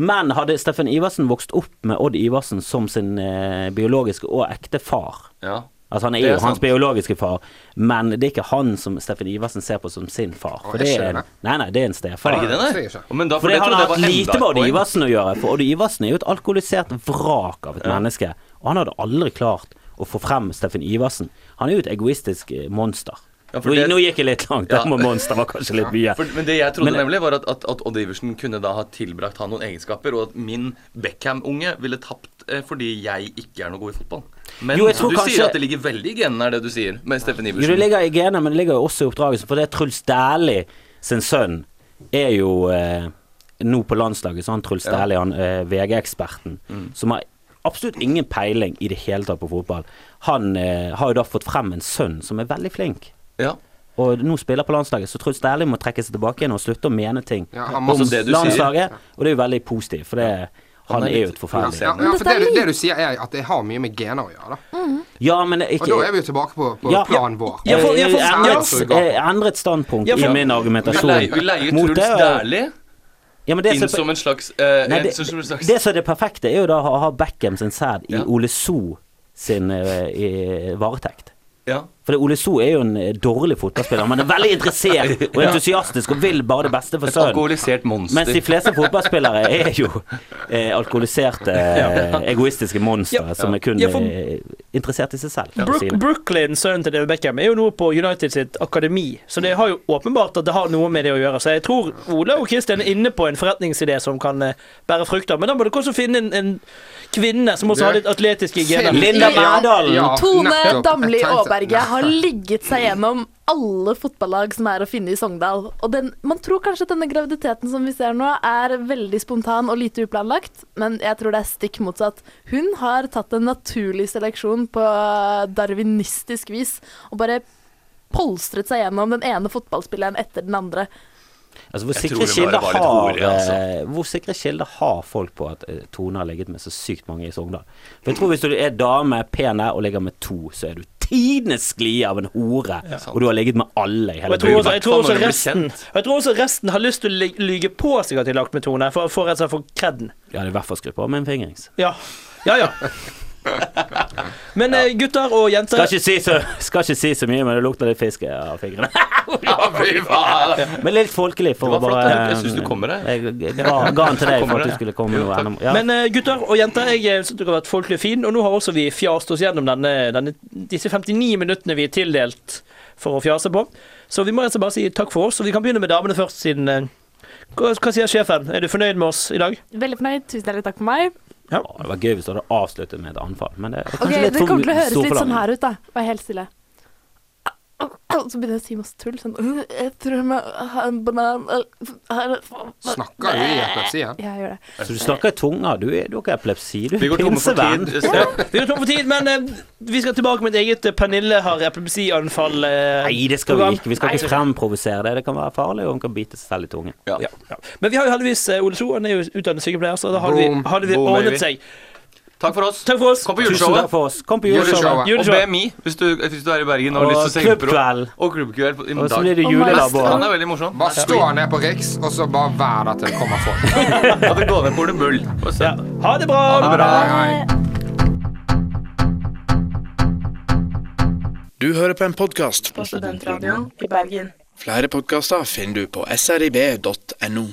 Speaker 4: Men hadde Steffen Iversen vokst opp med Odd Iversen som sin eh, biologiske og ekte far
Speaker 6: Ja.
Speaker 4: Altså Han er,
Speaker 6: Det er
Speaker 4: jo hans
Speaker 6: sant.
Speaker 4: biologiske far, men det er ikke han som Steffen Iversen ser på som sin far.
Speaker 5: Å,
Speaker 4: For
Speaker 5: det
Speaker 4: det er,
Speaker 5: skjønner jeg.
Speaker 4: nei, nei, det er en
Speaker 6: Er
Speaker 4: stefar.
Speaker 6: det ikke det,
Speaker 5: Det er
Speaker 6: nei?
Speaker 5: ikke.
Speaker 6: Men da, for
Speaker 4: For det
Speaker 6: det
Speaker 4: hadde
Speaker 6: trodde jeg
Speaker 4: hatt
Speaker 6: var
Speaker 4: lite
Speaker 6: enda
Speaker 4: med
Speaker 6: et
Speaker 4: Odd
Speaker 6: poeng.
Speaker 4: Iversen å gjøre, for Odd Iversen er jo et alkoholisert vrak av et menneske. Og han hadde aldri klart å få frem Steffen Iversen. Han er jo et egoistisk eh, monster.
Speaker 6: Ja, for
Speaker 4: nå,
Speaker 6: det-
Speaker 4: nå gikk jeg litt langt,
Speaker 6: Ja.
Speaker 4: det med monster var kanskje litt mye.
Speaker 6: For, men det jeg trodde
Speaker 4: Men-
Speaker 6: nemlig, var at, at, at Odd Iversen kunne da ha tilbrakt han noen egenskaper, og at min Beckham-unge ville tapt eh, fordi jeg ikke er noe god i fotball. Men
Speaker 4: Jo, jeg
Speaker 6: du
Speaker 4: tror kanskje-
Speaker 6: sier at det ligger veldig i genene, er det du sier, med Steffen
Speaker 4: Jo, det
Speaker 6: Iversen.
Speaker 4: ligger i genet, men det ligger jo også i oppdragelsen, for det er Truls Dæhlie sin sønn er jo eh, nå på landslaget, så han Truls Dæhlie, han eh, VG-eksperten,
Speaker 6: Mm.
Speaker 4: som har absolutt ingen peiling i det hele tatt på fotball, han eh, har jo da fått frem en sønn som er veldig flink.
Speaker 6: Ja.
Speaker 4: og nå spiller på landslaget, så Truls Dæhlie må trekke seg tilbake igjen og slutte å mene ting
Speaker 5: Ja, han må-
Speaker 4: om
Speaker 6: Om det du sier.
Speaker 4: landslaget. Og det er jo veldig positivt, for det, han,
Speaker 6: er
Speaker 4: er jo
Speaker 6: litt
Speaker 4: et forferdelig
Speaker 5: Ja,
Speaker 4: Ja,
Speaker 5: ja, for det, du- det du sier, er at det har mye med gener å gjøre.
Speaker 6: Mm.
Speaker 5: da.
Speaker 4: men det er
Speaker 5: Og da er
Speaker 4: ikke
Speaker 5: vi jo tilbake på, på
Speaker 4: Ja.
Speaker 5: planen vår.
Speaker 3: Ja, for- ja,
Speaker 4: jeg
Speaker 3: for-
Speaker 4: endret,
Speaker 5: ja.
Speaker 3: eh,
Speaker 4: jeg endret standpunkt
Speaker 3: Ja, for-
Speaker 4: i min
Speaker 6: Vi
Speaker 4: argumentasjon
Speaker 6: leier, vi leier
Speaker 4: mot
Speaker 6: Truls
Speaker 4: det, og-
Speaker 6: Dæhlie
Speaker 4: Ja, men det
Speaker 6: inn
Speaker 4: som-
Speaker 6: som en slags, eh,
Speaker 4: Nei,
Speaker 6: en-
Speaker 4: det,
Speaker 6: som en slags
Speaker 4: det som er det perfekte, er jo da å ha- ha Beckham sin sæd i
Speaker 6: Ja.
Speaker 4: Ole So sin eh, i varetekt.
Speaker 6: ja.
Speaker 4: For det, Ole So er jo en eh, dårlig fotballspiller, men er veldig interessert og entusiastisk og vil bare det beste for
Speaker 6: Et
Speaker 4: sønnen.
Speaker 6: alkoholisert monster.
Speaker 4: Mens de fleste fotballspillere er jo eh, alkoholiserte, eh, egoistiske monstre
Speaker 3: Ja.
Speaker 4: som er kun
Speaker 3: Ja, for-
Speaker 4: eh, interessert i seg selv. og
Speaker 3: Brook,
Speaker 4: sine.
Speaker 3: Brooklyn, sønnen til David Beckham, er jo nå på United sitt akademi, så det har jo åpenbart at det har noe med det å gjøre. Så jeg tror Ole og Christian er inne på en forretningsidé som kan eh, bære frukter, men da må dere også finne en, en kvinne som også har litt atletiske gener.
Speaker 4: Linda Mærdalen.
Speaker 2: Tone
Speaker 5: nettopp.
Speaker 2: Damli
Speaker 5: Jeg tenkte-
Speaker 2: Aaberge har ligget seg gjennom alle fotballag som er å finne i Sogndal. Og den, man tror kanskje at denne graviditeten som vi ser nå, er veldig spontan og lite uplanlagt, men jeg tror det er stikk motsatt. Hun har tatt en naturlig seleksjon på eh, darwinistisk vis og bare polstret seg gjennom den ene fotballspilleren etter den andre.
Speaker 4: Altså, hvor
Speaker 6: Jeg
Speaker 4: sikre
Speaker 6: tror hun
Speaker 4: kilder
Speaker 6: bare var
Speaker 4: har,
Speaker 6: litt holig, altså.
Speaker 4: eh, Hvor sikre kilder har folk på at eh, Tone har ligget med så sykt mange i Sogndal? For jeg tror hvis du er dame, pen og ligger med to, så er du tidenes sklie av en hore. Og du har ligget med alle i
Speaker 3: Og
Speaker 4: hele
Speaker 3: jeg tror, også,
Speaker 4: byen.
Speaker 3: jeg, tror også
Speaker 6: Hvertfall når du blir
Speaker 3: resten,
Speaker 6: kjent.
Speaker 3: og jeg tror også resten har lyst til å ly- lyge på seg at de har lagt med Tone, for, for rett og slett for kredden.
Speaker 4: Ja, det er i hvert fall skrudd på med en fingrings.
Speaker 3: Ja. Ja, ja. Men eh, gutter og jenter
Speaker 4: Skal ikke, si så, skal ikke si så mye, men det lukter litt fisk eh, av fingrene.
Speaker 6: Ja, fy faen!
Speaker 4: Men litt folkelig for
Speaker 6: Det
Speaker 4: å
Speaker 6: var
Speaker 4: bare eh,
Speaker 6: flott, jeg- jeg synes du kommer deg.
Speaker 4: Jeg, jeg, ga- ga den til deg for
Speaker 6: Kommer
Speaker 4: at du
Speaker 6: deg.
Speaker 4: skulle komme med
Speaker 6: Jo,
Speaker 4: noe
Speaker 6: takk.
Speaker 4: enda- ja.
Speaker 3: Men eh, gutter og jenter, jeg eh, synes dere har vært folkelig fin, og nå har også vi fjast oss gjennom denne, denne, disse 59 minuttene vi er tildelt for å fjase på. Så vi må rett og slett bare si takk for oss, og vi kan begynne med damene først, siden eh, hva, hva sier sjefen? Er du fornøyd med oss i dag?
Speaker 2: Veldig fornøyd. Tusen hjertelig takk for meg.
Speaker 4: ja. Det var gøy hvis du hadde avsluttet med et anfall, men det er kanskje
Speaker 2: Ok,
Speaker 4: litt
Speaker 2: Det
Speaker 4: for
Speaker 2: kommer til å høres sånn
Speaker 4: stor
Speaker 2: litt sånn
Speaker 4: forlangning.
Speaker 2: her ut, da. Vær helt stille. Og så begynner jeg å si masse tull. Sånn «Øh, Jeg tror jeg må ha en banan øh, her-
Speaker 5: Snakker du i epilepsi? Ja?
Speaker 2: Ja, jeg gjør det.
Speaker 4: Så du snakker i tunga. Du, er- du har ikke epilepsi, du
Speaker 6: Vi
Speaker 4: er
Speaker 6: går tomme for
Speaker 4: pinsevenn.
Speaker 6: tid.
Speaker 3: Ja,
Speaker 6: Så,
Speaker 3: vi er tom for tid, men eh, vi skal tilbake med et eget eh, Pernille har epilepsianfall. eh,
Speaker 4: Nei, det skal vi
Speaker 3: program.
Speaker 4: ikke. Vi skal
Speaker 3: Nei,
Speaker 4: ikke fremprovosere det. Det kan være farlig, og hun kan bite seg selv i tungen.
Speaker 6: ja.
Speaker 3: Ja, ja. Men vi har jo heldigvis eh, Ole So, han er jo utdannet sykepleier, så da hadde vi,
Speaker 5: Boom.
Speaker 3: hadde vi
Speaker 6: Boom,
Speaker 3: ordnet
Speaker 6: baby.
Speaker 3: seg.
Speaker 6: Takk for oss.
Speaker 3: Takk for oss.
Speaker 6: Kom på
Speaker 4: Tusen takk
Speaker 6: juleshowet.
Speaker 4: for oss. Kom på
Speaker 5: Juleshowet.
Speaker 4: juleshowet.
Speaker 6: Og
Speaker 3: Juleshowet.
Speaker 6: BMI, hvis du, hvis du er i Bergen og har
Speaker 4: Og
Speaker 6: lyst til å se impro.
Speaker 4: klubbkveld.
Speaker 6: Og klubbkveld på- i
Speaker 4: Og så blir
Speaker 6: dag.
Speaker 4: det julelabo.
Speaker 2: Neste gang.
Speaker 6: Han er veldig morsom.
Speaker 5: Bare stå ned på Riks, og så bare vær der til det kommer folk.
Speaker 6: Ja, det går ned på Ole Bull. Og så-
Speaker 3: Ja. Ha det bra.
Speaker 5: Hei, hei.
Speaker 9: Du hører på en podkast.
Speaker 1: På Studentradioen i Bergen.
Speaker 9: Flere podkaster finner du på srib.no.